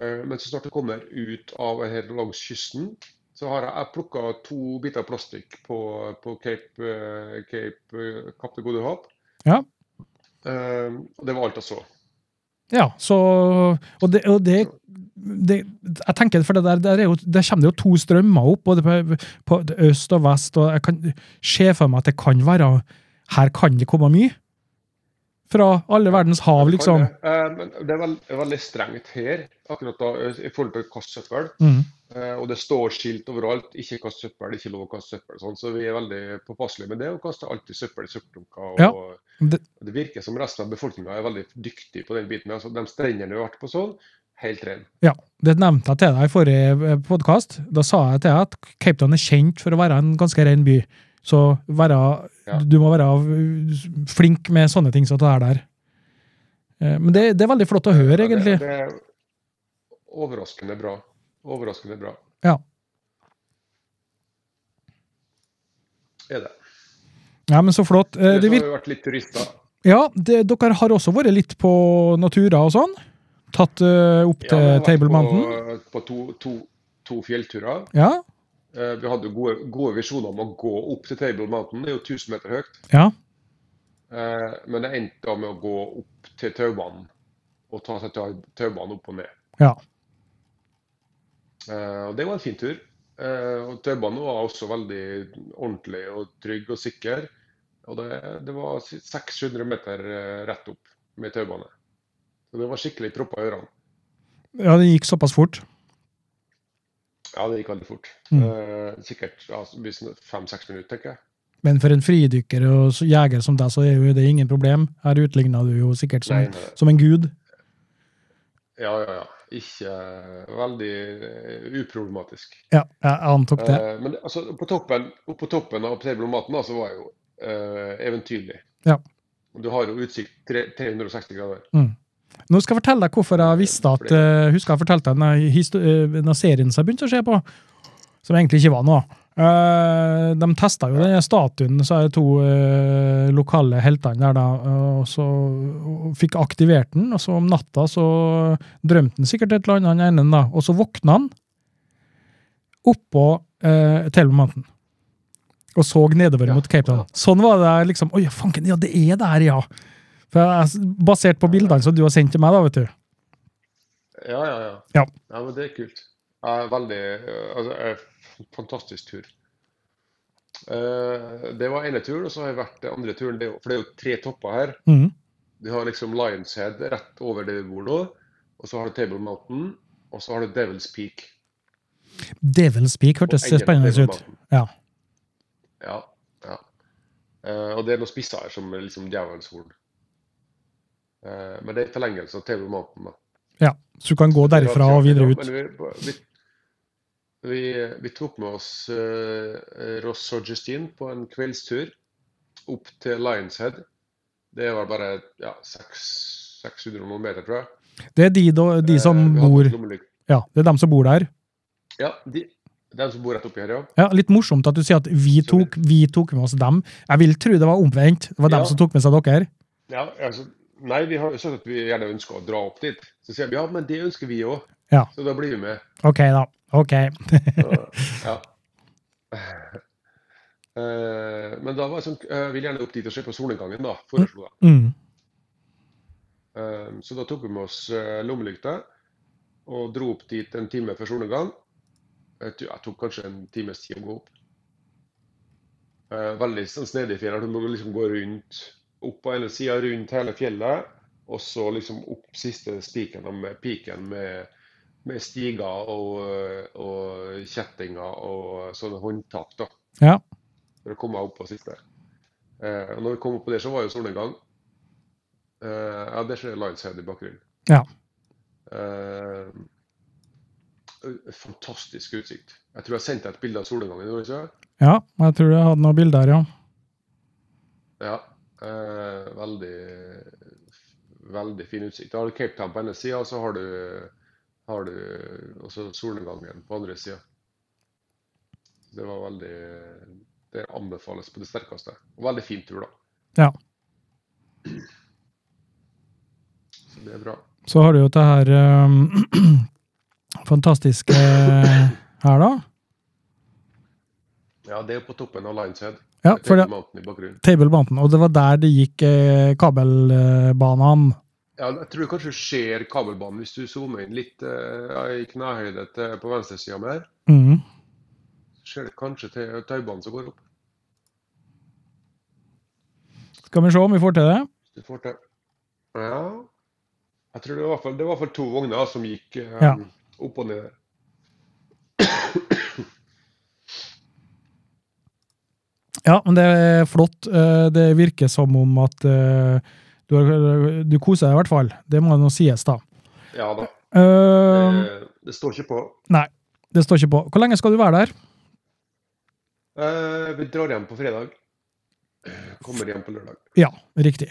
Eh, men så snart du kommer ut av her langs kysten, så har jeg, jeg plukka to biter plastikk på, på Cape, eh, Cape eh, Kapp det gode håp.
Ja.
Eh, og det var alt jeg så.
Ja, så Og det, og det, det Jeg tenker, for det der, der, er jo, der kommer det jo to strømmer opp, både på, på øst og vest, og jeg kan se for meg at det kan være Her kan det komme mye. Fra alle verdens hav, liksom.
Eh, men det er veld, veldig strengt her akkurat da, eh, i forhold til kast søppel.
Mm.
Eh, Og det står skilt overalt. Ikke kast søppel, ikke lov å kaste søppel. Sånn. Så vi er veldig påpasselige med det, og kaster alltid søppel i søppelklunker. Og,
Ja, det-
det... virker som resten av befolkninga er veldig dyktig på den biten. Altså, de strendene vi har vært på sånn, helt ren.
Ja, det nevnte jeg til deg i forrige podkast. Da sa jeg til deg at Cape Town er kjent for å være en ganske ren by. Så være,
Ja.
du må være uh, flink med sånne ting som det er der. Eh, Men det, det er veldig flott å høre,
Ja,
egentlig.
Det, det er overraskende bra. Overraskende bra
Ja.
er det.
Ja, men så flott. Eh,
Ellers
Det
har
virker,
vi vært litt turister.
ja, det, dere har også vært litt på natura og sånn? Tatt eh, opp
Ja, vi
til
har vært
Table Mountain?
På, på to, to, to fjellturer.
Ja,
Eh, Vi hadde jo gode, gode visjoner om å gå opp til Table Mountain. Det er jo 1000 meter høyt.
ja,
Eh, Men det endte da med å gå opp til taubanen og ta seg tau- taubanen opp og ned.
ja.
Eh, Og det var en fin tur. Eh, Og taubanen var også veldig ordentlig og trygg og sikker. Og det, det var si- 600 meter eh, rett opp med taubane. Så det var skikkelig proppa i ørene.
Ja, det gikk såpass fort.
Ja, det gikk veldig fort.
Mm.
Eh, Sikkert ja, fem-seks minutter, tenker jeg.
Men for en fridykker og så- jeger som deg, så er jo det ingen problem. Her utligna du jo sikkert som,
Nei, nei.
som en gud.
Ja, ja, ja. Ikke veldig eh, uproblematisk.
Ja, jeg antok det.
Eh, men altså, på toppen, opp på toppen av Playblom-maten da, så var jeg jo eh, eventyrlig.
Ja.
Og Du har jo utsikt tre, 360 grader.
Nå skal jeg fortelle deg hvorfor jeg visste at eh, Husker jeg fortalte deg denne, histo- eh, denne serien som jeg begynte å se på, som egentlig ikke var noe. Eh, de testa jo denne statuen, så er det to eh, lokale heltene der, da. Og så fikk aktivert den, og så om natta så drømte han sikkert et eller annet, han ene, da. Og så våkna han oppå uh, Telemanten. Og så nedover
Ja,
mot Cape Town.
ja.
Sånn var det liksom. Oi, fanken, ja, det er der, ja. For jeg, basert på bildene som du har sendt til meg, da, vet du.
Ja, ja, ja.
Ja.
men det er kult. Ja, veldig eh, altså, eh, Fantastisk tur. Eh, det var ene turen, og så har jeg vært den andre turen. Det, er jo- for det er jo tre topper her.
Mhm.
Du har liksom Lions Head rett over det vi bor nå. Og så har du Table Mountain, og så har du Devil's Peak.
Devil's Peak hørtes
Og enden av
spennende
Table
ut.
Mountain.
Ja.
Ja. ja. Eh, og det er noen spisser her som er liksom djevelens horn. Eh, men det er i forlengelse av Table Mountain. da.
ja. Så du kan gå derfra og videre ut.
Men vi, vi, vi, vi tok med oss eh, Ross og Justine på en kveldstur opp til Lions Head. Det var bare ja, seks- 600 noen meter, tror jeg.
Det er de, da- de som
Eh, vi hadde
bor
en lommelykt.
Ja, det er dem som bor der.
Ja, de, de som bor rett oppi her, ja.
Ja, Litt morsomt at du sier at vi tok, vi tok med oss dem. Jeg vil tro det var omvendt. Det var dem
Ja.
som tok med seg dere.
ja altså, nei, vi har jo sagt at vi gjerne ønsker å dra opp dit. Så sier vi ja, men det ønsker vi òg.
Ja.
Så da blir vi med.
Ok, da. Ok.
Så, ja. Eh, Men da var jeg sånn, jeg vil gjerne opp dit og se på solnedgangen, da, foreslo jeg.
Mm.
Eh, Så da tok vi med oss eh, lommelykta og dro opp dit en time før solnedgang. Jeg tror- jeg tok kanskje en times tid å gå opp. Eh, Veldig sånn snedig fjell. Du må liksom gå rundt, opp på ene sida, rundt hele fjellet, og så liksom opp siste spiken med piken med, med stiger og, og kjettinger og sånne håndtak, da
Ja.
for å komme meg opp på siste. Eh, og når vi kom opp på det, så var jo solnedgang. Eh, ja, det skjer Lineshead i bakgrunnen.
Ja.
Eh, fantastisk utsikt. Jeg tror jeg sendte deg et bilde av solnedgangen. gjorde jeg Ikke?
ja. Jeg tror jeg hadde noen bilder, ja.
Ja. Eh, veldig veldig fin utsikt. Da har du Cape Town på ene sida, og så har du, har du også solnedgangen på andre sida. Det var veldig Det anbefales på det sterkeste. Og veldig fin tur, da.
ja.
Så det er bra.
Så har du jo det her ehm, *clears throat* fantastiske eh, her, da.
Ja, det er på toppen av Lionshead.
Ja, for det,
Table Mountain i bakgrunnen.
Table Mountain. Og det var der det gikk eh, kabelbanene.
Ja, jeg tror kanskje du ser kabelbanen hvis du zoomer inn litt eh, ja, i knehøyde til, på venstresida mer.
Mm.
Så ser du kanskje til taubanen som går opp.
Skal vi se om vi får til det?
Hvis du får til. Ja. Jeg tror det var i hvert fall, det var i hvert fall to vogner som gikk eh,
Ja.
opp og ned der.
Ja, men det er flott. Eh, Det virker som om at eh, du, har- du koser deg i hvert fall. Det må nå sies, da.
Ja da.
Eh,
eh, det står ikke på.
nei, det står ikke på. Hvor lenge skal du være der?
Eh, vi drar hjem på fredag. Kommer hjem på lørdag.
Ja, riktig.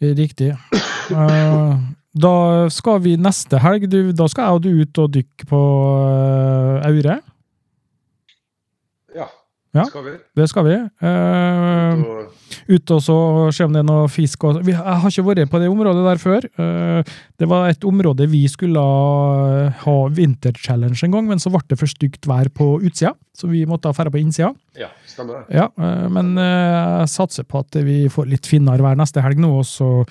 Riktig. Eh, da skal vi neste helg du, Da skal jeg og du ut og dykke på eh, Aure.
Ja,
Ja.
skal vi.
Det skal vi. Eh,
Så,
ut og så se om det er noe fisk. Og, vi, jeg har ikke vært på det området der før. Eh, det var et område vi skulle ha vinterchallenge en gang, men så ble det for stygt vær på utsida, så vi måtte ha ferda på innsida.
ja, stemmer det.
Ja, eh, men eh, jeg satser på at vi får litt finere vær neste helg nå, og så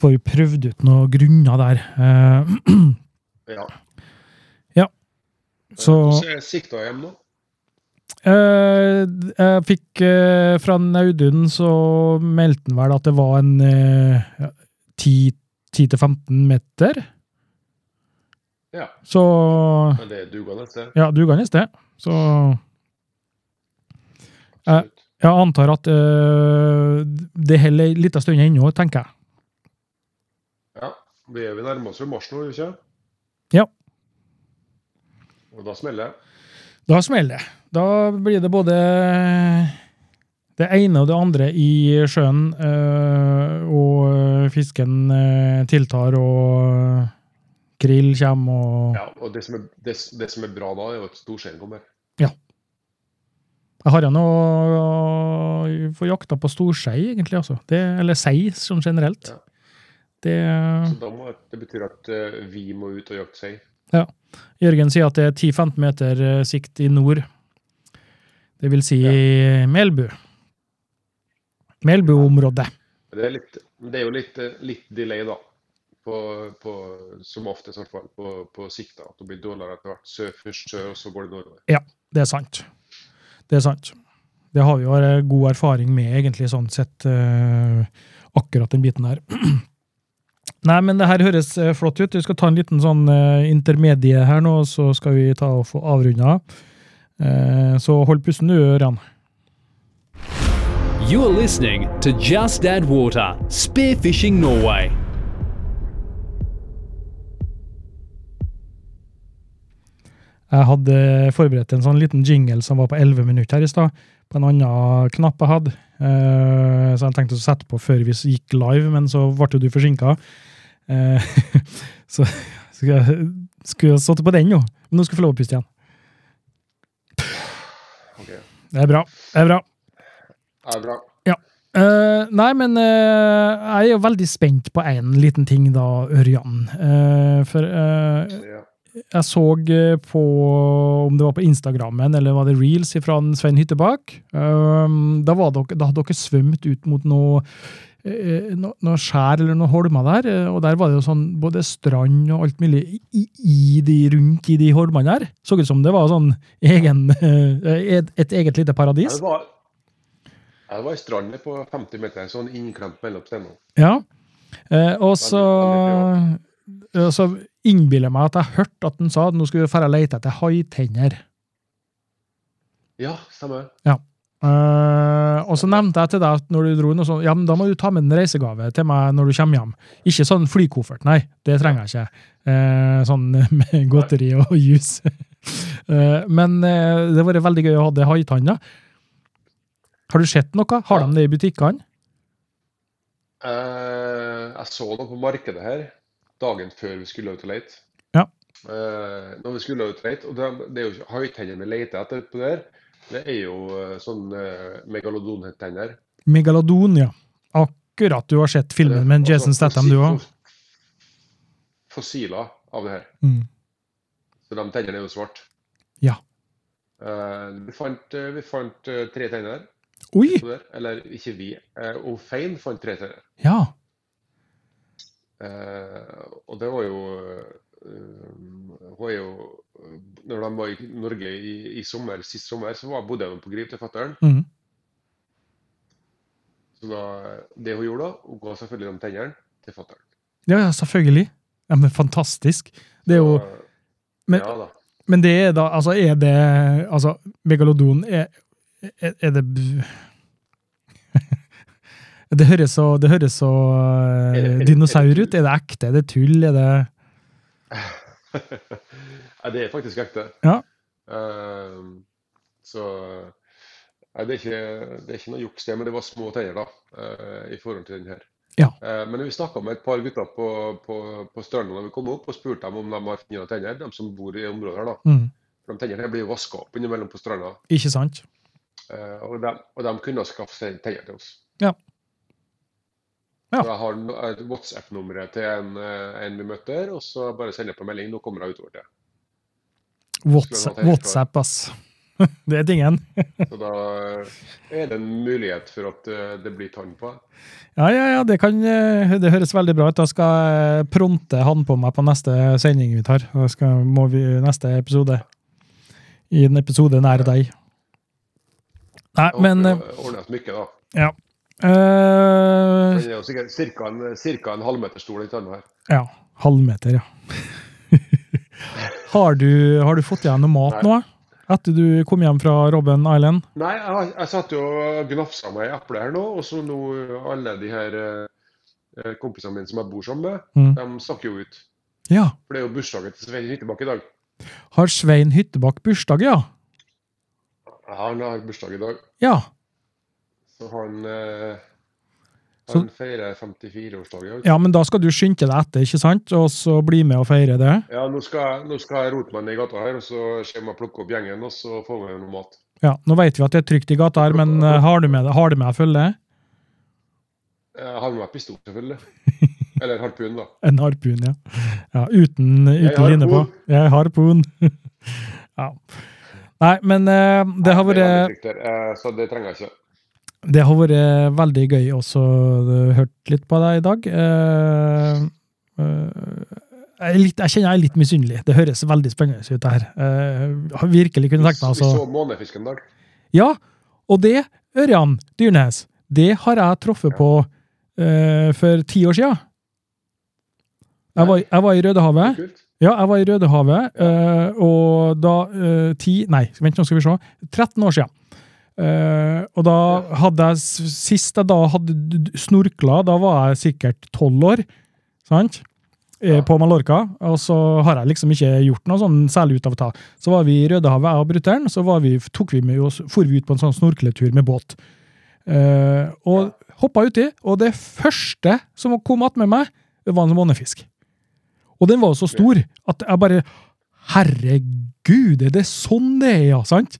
får vi prøvd ut noen grunner der. Eh, *clears throat*
Ja.
så
Hvordan er sikta hjem nå?
eh, jeg fikk eh, fra en Audun, så meldte han vel at det var en eh, ja, 10 10-15 meter.
Ja.
Så
Men det duger neste.
ja, dugende sted. Så Eh,
Absolutt.
jeg antar at eh, det holder ei lita stund ennå, tenker jeg.
Ja, vi er vi nærmer oss jo mars nå, gjør vi ikke?
Ja.
Og da smeller det.
Da smeller det. Da blir det både det ene og det andre i sjøen, eh, og fisken eh, tiltar, og krill kommer, og
Ja, og det som, er, det, det som er bra da, er jo at storskjeen kommer.
Jeg har jo noe få jakta på storskei, egentlig, altså. Det, eller sei, som generelt.
Ja.
Det
Så da må, det betyr at eh, vi må ut og jakte sei.
Jørgen sier at det er 10-15 meter eh, sikt i nord. Det vil si Melbu. Melbu-området.
Men Det er, litt, det er jo litt, eh, litt delay, da. På, på, som oftest, i hvert fall på, på sikta. At det blir dårligere etter hvert. Sør, først sør, og så går det nordover.
Det er sant. Det er sant. Det har vi jo eh, god erfaring med, egentlig, sånn sett. eh, akkurat den biten der. *clears throat* Nei, men det her høres eh, flott ut. Vi skal ta en liten sånn eh, intermedie her nå, så skal vi ta og få avrunda. Eh, så hold pusten du, Ørjan.
You're listening to Just Add Water Spearfishing Norway.
Jeg hadde forberedt en sånn liten jingle som var på 11 minutter her i stad, på en annen knapp jeg hadde. Eh, så jeg tenkte å sette på før vi gikk live, men så ble jo du forsinka. Eh, *laughs* så skulle jeg, skulle jeg satt på den nå. Men nå skal jeg få lov å puste igjen.
Ok,
Det er bra. Det er bra.
det er bra.
Eh, nei, men eh, jeg er jo veldig spent på én liten ting, da, Ørjan. Eh, for eh,
Ja.
jeg så eh, på om det var på Instagrammen eller var det reels fra Svein Hyttebakk. Ehm, Da, var dere, da hadde dere svømt ut mot noe, eh, no- noe skjær eller noen holmer der, eh, og der var det jo sånn både strand og alt mulig i, i de, rundt i de holmene der. Så ut som det var sånn egen, eh, et, et eget lite
Ja,
paradis.
det var, ja, det var ei strand på 50 meter, sånn innklemt mellom steinene.
Ja. Eh, og så
veldig
eh, så innbiller jeg meg at jeg hørte at han sa at nå skulle vi dra og lete etter haitenner.
Ja, stemmer.
Eh, og så nevnte jeg til deg at når du dro noe sånt, ja, men da må du ta med en reisegave til meg når du kommer hjem. Ikke sånn flykoffert, nei. Det trenger jeg ikke. Eh, sånn *laughs* med godteri og juice. *laughs* Eh, men eh, det har vært veldig gøy å ha det haitanna. Har du sett noe? Har de det i butikkene?
Eh, jeg så noe på markedet her dagen før vi skulle ut og lete.
Ja.
Eh, når vi skulle ut og lete, og det, det er jo ikke haitennene vi leter etter på der, det er jo eh, sånn eh, megalodontenner.
Megalodon, ja. Akkurat du har sett filmen med
Og så
Jason Statham,
altså fossi-
du òg.
Fossiler av det her.
Mm.
Så de tennene er jo svarte.
Ja.
Eh, vi fant, eh, vi fant eh, tre tenner
Oi!
på der. Eller ikke vi. Eh, og Fein fant tre tenner.
Ja.
Eh, og det var jo eh, var jo eh, Når de var i Norge i, i sommer, sist sommer, så var, bodde de på Grip til fatter'n.
Mm.
Så da, det hun gjorde da, hun ga selvfølgelig de tennene til fatter'n.
ja, ja, selvfølgelig. Ja, men fantastisk. Det er jo, men-
Ja da.
men det er da Altså, er det Altså, megalodon er, er, er det *laughs* Det høres så, det høres så eh,
Er det- er det- er det
dinosaur ut.
tull?
Er det ekte? Er det tull? Er det
Nei, det er faktisk ekte.
Ja.
Eh, så Nei, det er ikke, det er ikke noe juks, det, men det var små tenner da, eh, i forhold til den her.
Ja.
Eh, men vi snakka med et par gutter på, på, på stranda da vi kom opp, og spurte dem om de har funnet noen tenner, de som bor i området her. da.
mm,
For De tennene her blir jo vaska opp innimellom på stranda,
Ikke sant?
eh, og de, og de kunne ha skaffet seg tenner til oss.
Ja. Ja.
Så jeg har no- eh, WhatsApp-nummeret til en, eh, en vi møtte der, og så bare sender jeg på melding. Nå kommer jeg utover til deg.
WhatsApp,
tenner fra-
WhatsApp ass. *laughs* Det er tingen.
Så da er det en mulighet for at eh, det blir tann på. deg.
Ja, ja, ja, det, kan, eh, det høres veldig bra ut. Da skal jeg pronte han på meg på neste sending vi tar. Da skal, må vi neste episode. I en episode nær deg. Nei,
Jeg
men eh,
håper det ordnes mye, da.
ja. Eh,
Den er jo sikkert cirka en, cirka en halvmeter stor, den tanna her.
ja. Halvmeter, ja. *laughs* har, du, har du fått igjen noe mat nå? Etter du kom hjem fra Robben Island?
Nei, jeg, har- jeg satt jo og gnafsa meg i eplet her nå, og så nå eh, alle de her eh, eh, kompisene mine som jeg bor sammen med,
Mm.
de snakker jo ut.
Ja.
For det er jo bursdagen til Svein Hyttebakk i dag.
Har Svein Hyttebakk bursdag, ja?
Ja, Han har bursdag i dag,
Ja.
så han, eh,
Så-
han feirer 54-årsdag i dag.
Ja, men da skal du skynde deg etter, ikke sant? Og så bli med og feire det?
Ja, nå skal, jeg- nå skal jeg rote meg ned i gata her, og så kommer jeg og plukker opp gjengen, og så får vi noe mat.
Ja, Nå vet vi at det er trygt i gata her, men eh, har du med deg har du med deg følge?
Jeg Eh, har med meg pistol,
*laughs*
selvfølgelig. Eller harpun, da.
En harpun, ja. ja uten
Jeg
uten
har
line på.
harpun.
Jeg har harpun. *laughs* ja. Nei, men eh, det har
Det er
vært
veldig trygt her, eh, så det trenger jeg ikke.
Det har vært veldig gøy også eh, hørt litt på deg i dag. Eh, eh, jeg, er litt, jeg kjenner jeg er litt misunnelig. Det høres veldig spennende ut, det her. Eh, jeg har virkelig kunne tenkt meg
Vi
altså.
så månefisk en dag.
Ja, og det, Ørjan Dyrnes, det har jeg truffet på eh, for ti år siden. Jeg var, jeg var i Rødehavet.
Kult.
Ja, jeg var i Rødehavet, eh, og da eh, ti, Nei, vent, nå skal vi se. 13 år siden. Eh, og da hadde jeg s- Sist jeg da hadde d- d- snorkla, da var jeg sikkert 12 år. Sant? eh, på Mallorca, og så har jeg liksom ikke gjort noe sånn særlig ut av det. Så var vi i Rødehavet, jeg og brutter'n, så var vi, tok vi med oss, for vi ut på en sånn snorkletur med båt. Eh, og hoppa uti, og det første som kom attmed meg, det var en sånn månefisk. Og den var jo så stor at jeg bare Herregud, er det sånn det er, ja? Sant?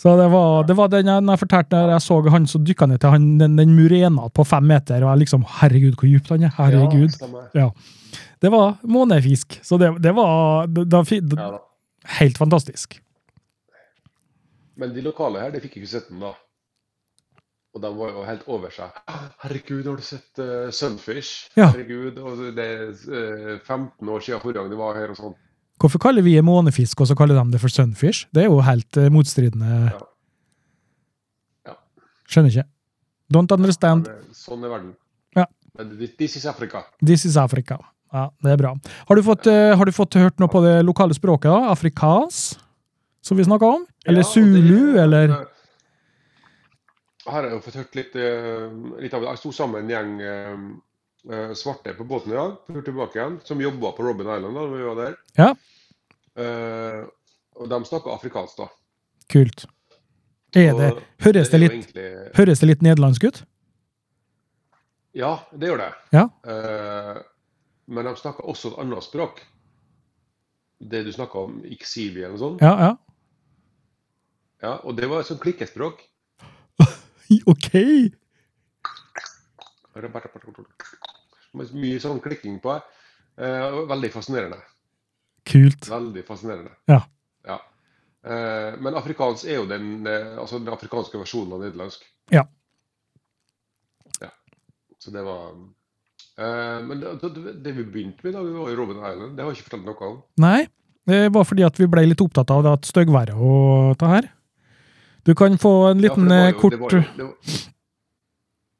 Så det var, det var den jeg, når jeg fortalte når jeg så han, så dykka ned til han, den, den murena på fem meter, og jeg liksom Herregud, hvor dypt han er. Herregud.
stemmer.
Ja. Det var månefisk, så det, det var det, det, var fi- det,
Ja, da.
helt fantastisk.
Men de lokale her, de fikk ikke sett den da. Og de var jo helt over seg. Ah, Herregud, har du sett eh, Sunfish?
Ja.
Herregud, og det er eh, 15 år siden forrige gang de var her og sånn.
Hvorfor kaller vi det månefisk, og så kaller de det for sunfish? Det er jo helt eh, motstridende.
Ja. Ja.
Skjønner ikke. Don't understand.
Det- Sånn er verden.
Ja.
Men This is Africa.
This is Africa. Ja, det er bra. Har du fått, eh, har du fått hørt noe på det lokale språket, da? Afrikas, som vi snakka om? Eller
Ja, og det-
zulu, eller
Her har jeg jo fått hørt litt, eh, litt av det. Jeg sto sammen med en gjeng eh, eh, svarte på båten i dag, på tur tilbake igjen, som jobba på Robin Island da vi var der.
Ja.
Eh, og de snakka afrikansk, da.
Kult. Er det,
Og
høres, det
er jo
litt,
egentlig-
høres det litt nederlandsk ut?
Ja, det gjør det.
Ja.
Eh, men de snakker også et annet språk. Det du snakka om, Ixivi eller noe sånt.
Ja, *laughs* ja.
Ja, og det var et sånt klikkespråk.
OK!
Mye sånn klikking på. Eh, og veldig fascinerende.
Kult.
Veldig fascinerende.
Ja.
Ja. Eh, men afrikansk er jo den, eh, altså den afrikanske versjonen av nederlandsk.
Ja.
Ja. Så det var eh, Men det, det, det vi begynte med da vi var i Robin Island, det har jeg ikke fortalt noe om.
Nei, det var fordi at vi ble litt opptatt av det at styggværet og det her. Du kan få en
Ja, for
liten
det
eh,
var jo-
kort
det var, jo, det, var,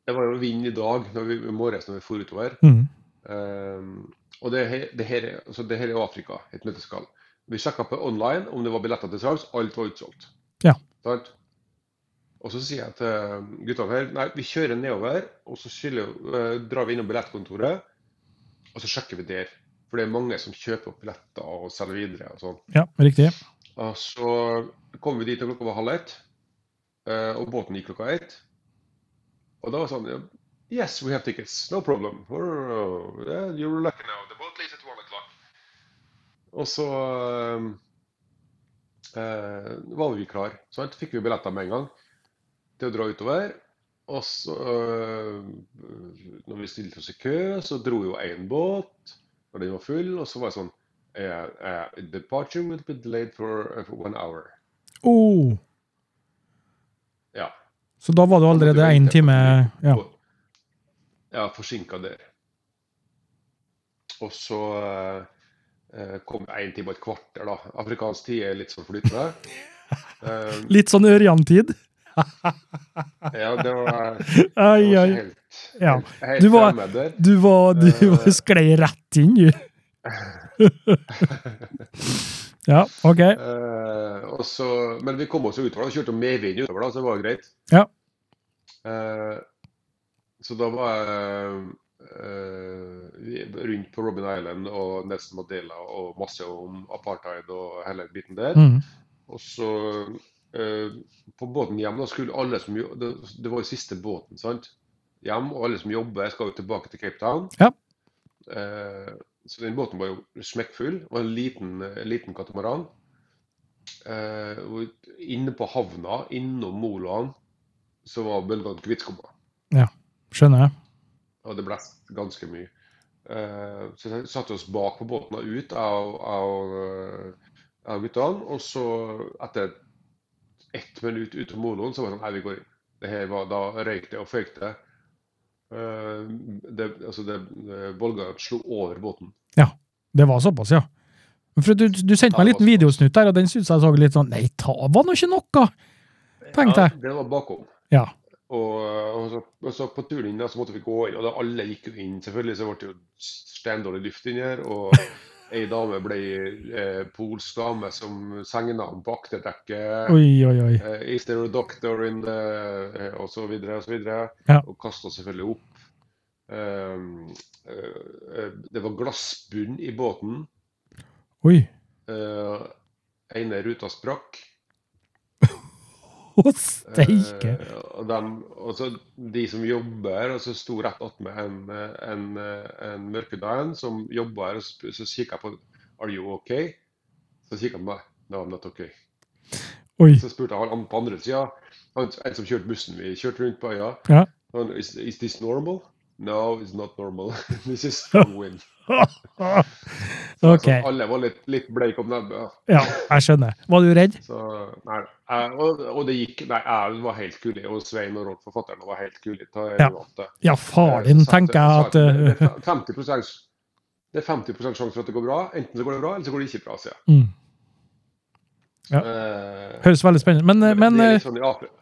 det var jo vind i dag, når vi, i morges når vi for utover.
Mm.
Ehm, og det, he- det, her, er- altså det her er jo Afrika, et nøtteskall. Vi sjekka på online om det var billetter til salgs. Alt var utsolgt.
Ja.
Sant? Og så sier jeg til eh, guttene her nei, vi kjører nedover, og så skiller, eh, drar vi innom billettkontoret. Og så sjekker vi der. For det er mange som kjøper opp billetter og selger videre. og sånn.
Ja, riktig.
Og så kom vi dit når klokka var halv ett, eh, og båten gikk klokka ett. Og da var det sånn Yes, we have tickets. No problem. Oh, yeah, you're lucky now. The boat leaves at one o'clock. Og så eh, eh, var vi klar. Så fikk vi billetter med en gang til å dra utover. Og så eh, Når vi stilte oss i kø, så dro jo én båt, og den var full. Og så var det sånn Uh, uh, departure will be delayed for, uh, for one hour.
Oh,
Ja.
så da var du allerede én time ja.
Ja, forsinka der. Og så uh, kom én time og et kvarter, da. Afrikansk tid er litt sånn flytende.
*laughs*
Eh,
Litt sånn Ørjan-tid.
ja, det var, det
Ai,
var
ai.
ikke helt,
Ja.
helt, helt
Du var-
fremme der.
Du var, du
Eh.
var sklei rett inn, du.
*laughs*
ja, OK.
Eh, og så, men vi kom oss jo utover, da. Kjørte medvind utover, da, så det var jo greit.
Ja.
Eh, så da var jeg eh, vi- rundt på Robin Island og Nelson Mandela og masse om apartheid og hele biten der.
Mm.
Og så eh, på båten hjem, da skulle alle som jo- Det, det var jo siste båten, sant? Hjem, og alle som jobber, skal jo tilbake til Cape Town.
Ja.
Eh, så den båten var jo smekkfull. Det var en liten, en liten katamaran. Eh, og inne på havna, innom molaen, så var bølgene kvittskumma.
Skjønner jeg.
Og det blåste ganske mye. Eh, så vi satte oss bak på båten og ut av, av, eh, av guttene. Og så, etter ett minutt ute på moloen, så var det sånn Nei, vi går inn. Det her var, da røyk det og føyk det. Eh, det, altså det, det Bolga slo over båten.
Det var såpass, ja. For du, du sendte meg en liten videosnutt der, og den syntes jeg så litt sånn Nei, ta var nå ikke noe! Tenkte jeg.
Ja, det var bakom.
Ja.
Og, og, så, og så på turen inn da, så måtte vi gå inn, og da alle gikk jo inn. Selvfølgelig så ble det jo steindårlig luft inni her. Og
*laughs*
ei dame ble eh, polsk dame som sengenavn på akterdekket.
Oi, oi, oi.
Eh, is there a doctor in the eh, Og så videre og så videre.
Ja.
Og kasta selvfølgelig opp. Ehm, eh, eh, det var glassbunn i båten.
Oi.
Eh, ene ruta sprakk.
Å, steike.
Eh, og dem- og så de som jobber her, og så sto rett attmed en, eh, en, eh, en mørkedag en som jobba her, og så, sp- så kikka jeg på Are you okay? Så kikka han på meg. No, I'm not okay.
Oi.
Så spurte jeg han på andre sida, han, en som kjørte bussen vi kjørte rundt på øya.
Ja.
Han, is, is this normal? No, it's not normal. *laughs*
*laughs*
this is wind. Så,
Ok.
så alle var litt, litt bleike om nebbet.
Ja, jeg skjønner. Var du redd?
Så, nei, jeg, og, og det gikk Nei, jeg var helt kul, og Svein og Rolf, forfatteren, var helt kul.
Ja. Ja,
Eh,
far din, tenker jeg at
det,
eh, *laughs*
er 50 det er 50 sjanse for at det går bra. Enten så går det bra, eller så går det ikke bra, sier jeg.
mm. Ja.
Eh,
Høres veldig spennende Men, eh, men
det er
eh,
litt sånn i Afrika.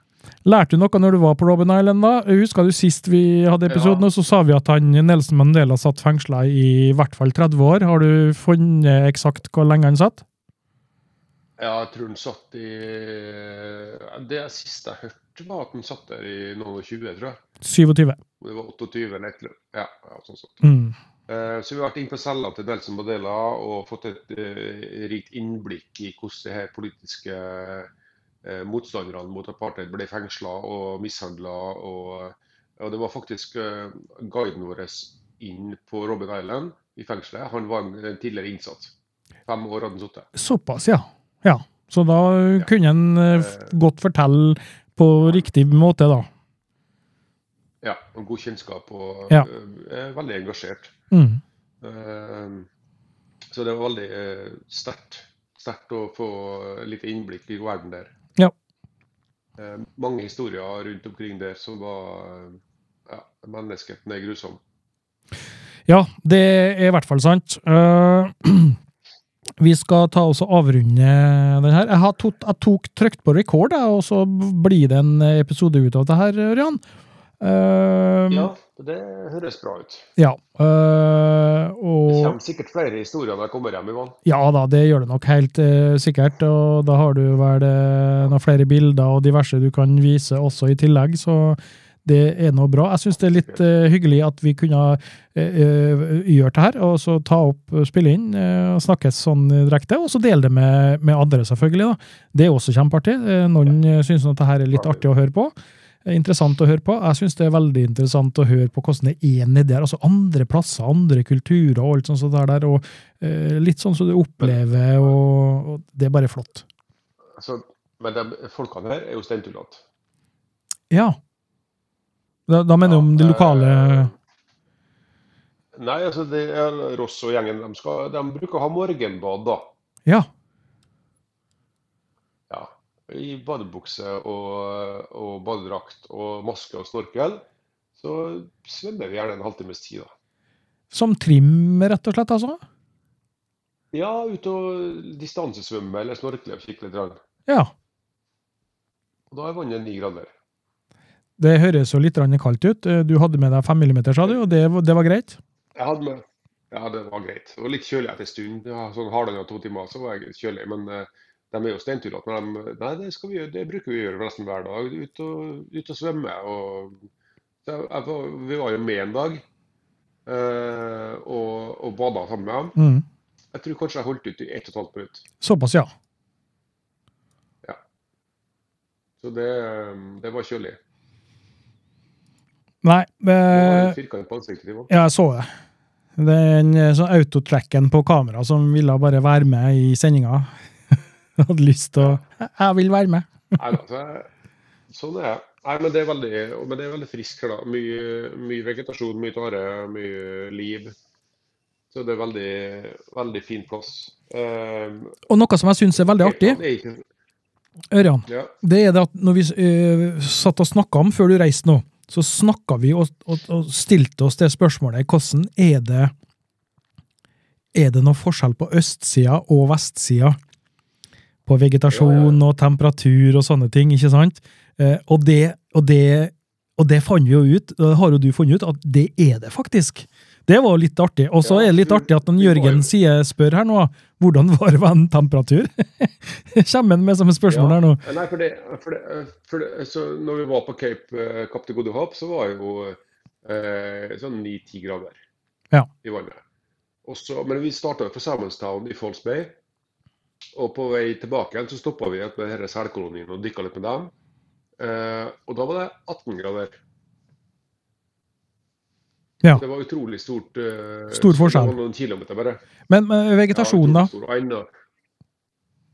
lærte du noe når du var på Robben Island, da? Husker du sist vi hadde episoden,
Ja.
og så sa vi at han Nelson Mandela satt fengsla i i hvert fall 30 år. Har du funnet eksakt hvor lenge han satt?
Ja, jeg tror den satt i eh, Det siste jeg hørte, var at den satt der i noen og 20, tror jeg.
27.
Det var 28 eller et eller annet. Ja, ja, sånn sånt.
Mm.
Eh, Så vi har vært inne på cella til Nelson Mandela og fått et eh, rikt innblikk i hvordan de her politiske eh, motstanderne mot apartheid ble fengsla og mishandla. Og, og det var faktisk eh, guiden vår inn på Robben Island i fengselet. Han var en, en tidligere innsatt. Fem år hadde han sittet.
Såpass, ja. ja. Så da kunne han eh, f- godt fortelle på riktig måte, da.
Ja, og god kjennskap og
Ja.
eh, veldig engasjert.
Mm.
Eh, Så det var veldig eh, sterkt. Sterkt å få litt innblikk i verden der.
Ja.
Eh, Mange historier rundt omkring der som var eh, ja, Menneskeheten er grusom.
Ja, det er i hvert fall sant. Eh, *clears throat* vi skal ta oss og avrunde den her. Jeg, har tot, jeg tok trykt på rekord, jeg, og så blir det en episode ut av det her, Ørjan. Eh,
Ja, det høres bra ut.
ja, eh,
Det
og
kommer sikkert flere historier når jeg kommer hjem, Ivan.
Ja da, det gjør det nok helt eh, sikkert. Og da har du vel eh, noen flere bilder og diverse du kan vise også i tillegg, så det er nå bra. Jeg syns det er litt eh, hyggelig at vi kunne eh, eh, gjøre det her, og så ta opp, eh, spille inn eh, og snakkes sånn direkte. Og så dele det med, med andre, selvfølgelig. da. Det er også kjempeartig. Eh, Noen eh, syns at det her er litt artig å høre på. eh, Interessant å høre på. Jeg syns det er veldig interessant å høre på hvordan det er nedi der. Altså andre plasser, andre kulturer og alt sånt som det er der. og Eh, litt sånn som du opplever, og, og det er bare flott.
Altså, men de folkene her er jo steintullete.
Ja. Da, da mener du om det lokale
eh, Nei, altså, det er Ross og gjengen de, skal, de bruker å ha morgenbad, da.
Ja.
Ja. I badebukse og, og badedrakt og maske og snorkel. Så svømmer vi gjerne en halvtimes tid, da.
Som trim, rett og slett, altså?
Ja, ut og distansesvømme eller snorkle og kikke litt. grann.
Ja.
Og da er vannet ni grader.
Det høres jo litt grann kaldt ut. Eh, Du hadde med deg fem millimeter, sa du, og det, var- det var greit?
Jeg hadde med Ja, det var greit. Det var litt kjølig etter en stund. Ja, sånn halvannen to timer så var jeg kjølig. Men eh, de er jo steintullete. Men de, nei, det, skal vi gjøre, det bruker vi å gjøre nesten hver dag. Ut og, ut og svømme. Og, så jeg, jeg var, vi var jo med en dag eh, og, og bada sammen med dem.
Mm.
Jeg tror kanskje jeg holdt ut i ett og et halvt minutt.
Såpass, ja.
Så det, eh, det var kjølig.
Nei
Det var
eh,
litt firkant på ansiktet. Ivan.
Ja, jeg så det. Den eh, sånn autotracken på kamera som ville bare være med i sendinga. *laughs* Hadde lyst til å Jeg- Jeg vil være med.
Nei da, så jeg- sånn er jeg. Nei, men det er veldig, men det er veldig friskt her, da. Mye, mye vegetasjon, mye tare, mye liv. Så det er veldig, veldig fin plass. Eh,
Og noe som jeg syns er veldig artig,
er ikke-
Ørjan,
Ja,
det er det at når vi eh, satt og snakka om før du reiste nå, så snakka vi og, og, og stilte oss det spørsmålet hvordan er det Er det noe forskjell på østsida og vestsida? På vegetasjon og temperatur og sånne ting, ikke sant? Eh, og det, og det og det fant vi jo ut, det har jo du funnet ut, at det er det faktisk. Det var jo litt artig. Og så
Ja,
er det litt
du-
artig at den
du var jo-
Jørgen sier, spør her nå, hvordan var vanntemperatur? *laughs* Kommer han med som et spørsmål her nå?
Nei, for det, for det, for det så når vi var på Cape eh, Kapp til Gode Håp, så var jo eh, sånn 9-10 grader
Ja.
i vannet. Og så, men vi starta fra Simonstown i Falls Bay, og på vei tilbake igjen så stoppa vi ved denne selkolonien og dykka litt med dem. Eh, og da var det 18 grader.
Ja.
Det var utrolig stort. eh,
Stor forskjell.
Det var noen kilometer bare.
Men eh, vegetasjonen, da?
Ja, utrolig stor. Og enda-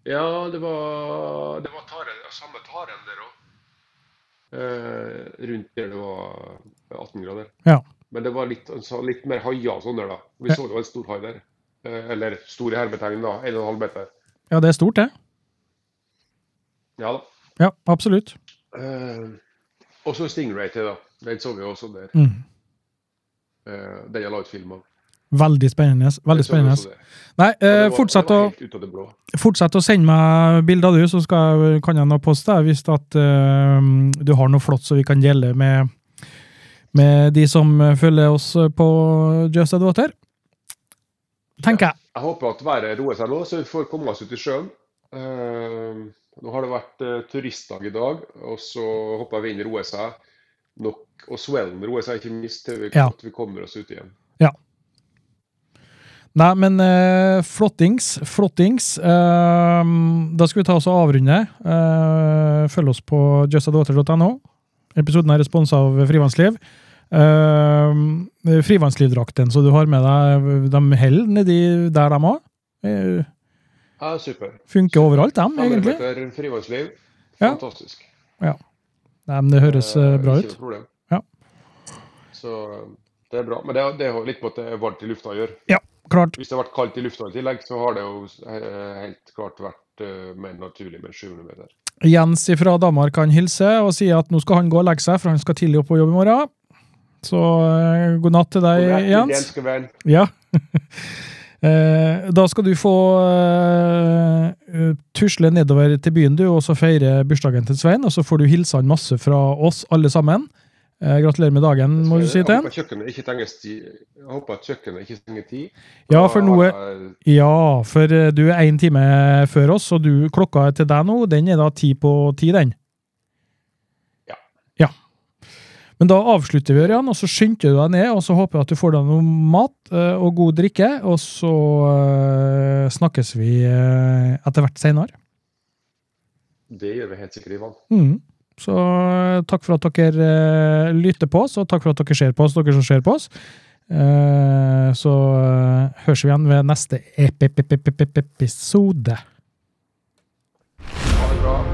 Ja, det var, det var taren, ja, samme taren der òg. Eh, rundt der det var 18 grader.
Ja.
Men det var litt, altså, litt mer haier og sånn der, da. Vi
Ja.
så jo en stor hai der. Eh, eller stor i hermetegn, da. 1,5 meter.
Ja, det er stort, det.
Ja da.
Ja, absolutt.
Eh, og så Stingray til, da. Den så vi jo også der.
Mm.
Eh, den jeg la ut film av.
Veldig spennende.
Den
Veldig
så vi
spennende.
også der.
Nei,
Og
eh,
det var-
fortsett
det var
å
helt ut av det blå.
Fortsett å sende meg bilder, du, så skal, jeg- kan jeg nå poste deg hvis at, eh, du har noe flott så vi kan dele med, med de som eh, følger oss på Just Ad Water. Tenker jeg.
Jeg håper at været roer seg nå, så vi får komme oss ut i sjøen. Eh, nå har det vært eh, turistdag i dag, og så håper jeg vinden roer seg nok. Og swellen roer seg ikke minst til vi,
Ja.
at vi kommer oss ut igjen.
Nei, men eh, flottings, flottings. Eh, da skal vi ta oss og avrunde. Eh, følg oss på justadwater.no. Episoden er respons av Frivannsliv. Eh, Frivannslivdrakten, så du har med deg de holder nedi der de òg. Uh,
Ja, super.
Funker overalt, dem, egentlig.
500 meter frivannsliv.
Ja.
Fantastisk.
Nei, men det høres eh,
Eh,
bra
ikke
ut.
noe problem.
Ja.
Så eh, det er bra. Men det, det har jo litt med at det er varmt i lufta å gjøre.
Klart.
Hvis det har vært kaldt i lufta i tillegg, så har det jo eh, helt klart vært eh, mer naturlig med 700 meter.
Jens fra Danmark kan hilse og si at nå skal han gå og legge seg, for han skal tidlig opp på jobb i morgen. Så eh, god natt til deg,
Hvor er det,
Jens.
skal være?
Ja. *laughs* Eh, Da skal du få eh, tusle nedover til byen, du, og så feire bursdagen til Svein. Og så får du hilse han masse fra oss, alle sammen. Eh, Gratulerer med dagen, må du si til
Jeg
han.
håper kjøkkenet ikke trenger sti- Jeg håper at kjøkkenet ikke trenger tid.
Ja, for
Da
noe
har jeg-
Ja, for eh, du er én time før oss, og du, klokka til deg nå, den er da ti på ti, den.
Ja.
Ja. Men da avslutter vi, Ørjan, og så skynder du deg ned, og så håper jeg at du får deg noe mat eh, og god drikke, og så eh, snakkes vi eh, etter hvert seinere.
Det gjør vi helt sikkert, Ivan.
Mm. Så eh, takk for at dere eh, lytter på oss, og takk for at dere ser på oss, dere som ser på oss. Eh, så eh, høres vi igjen ved neste ep ep ep ep ep episode.
Ha det bra.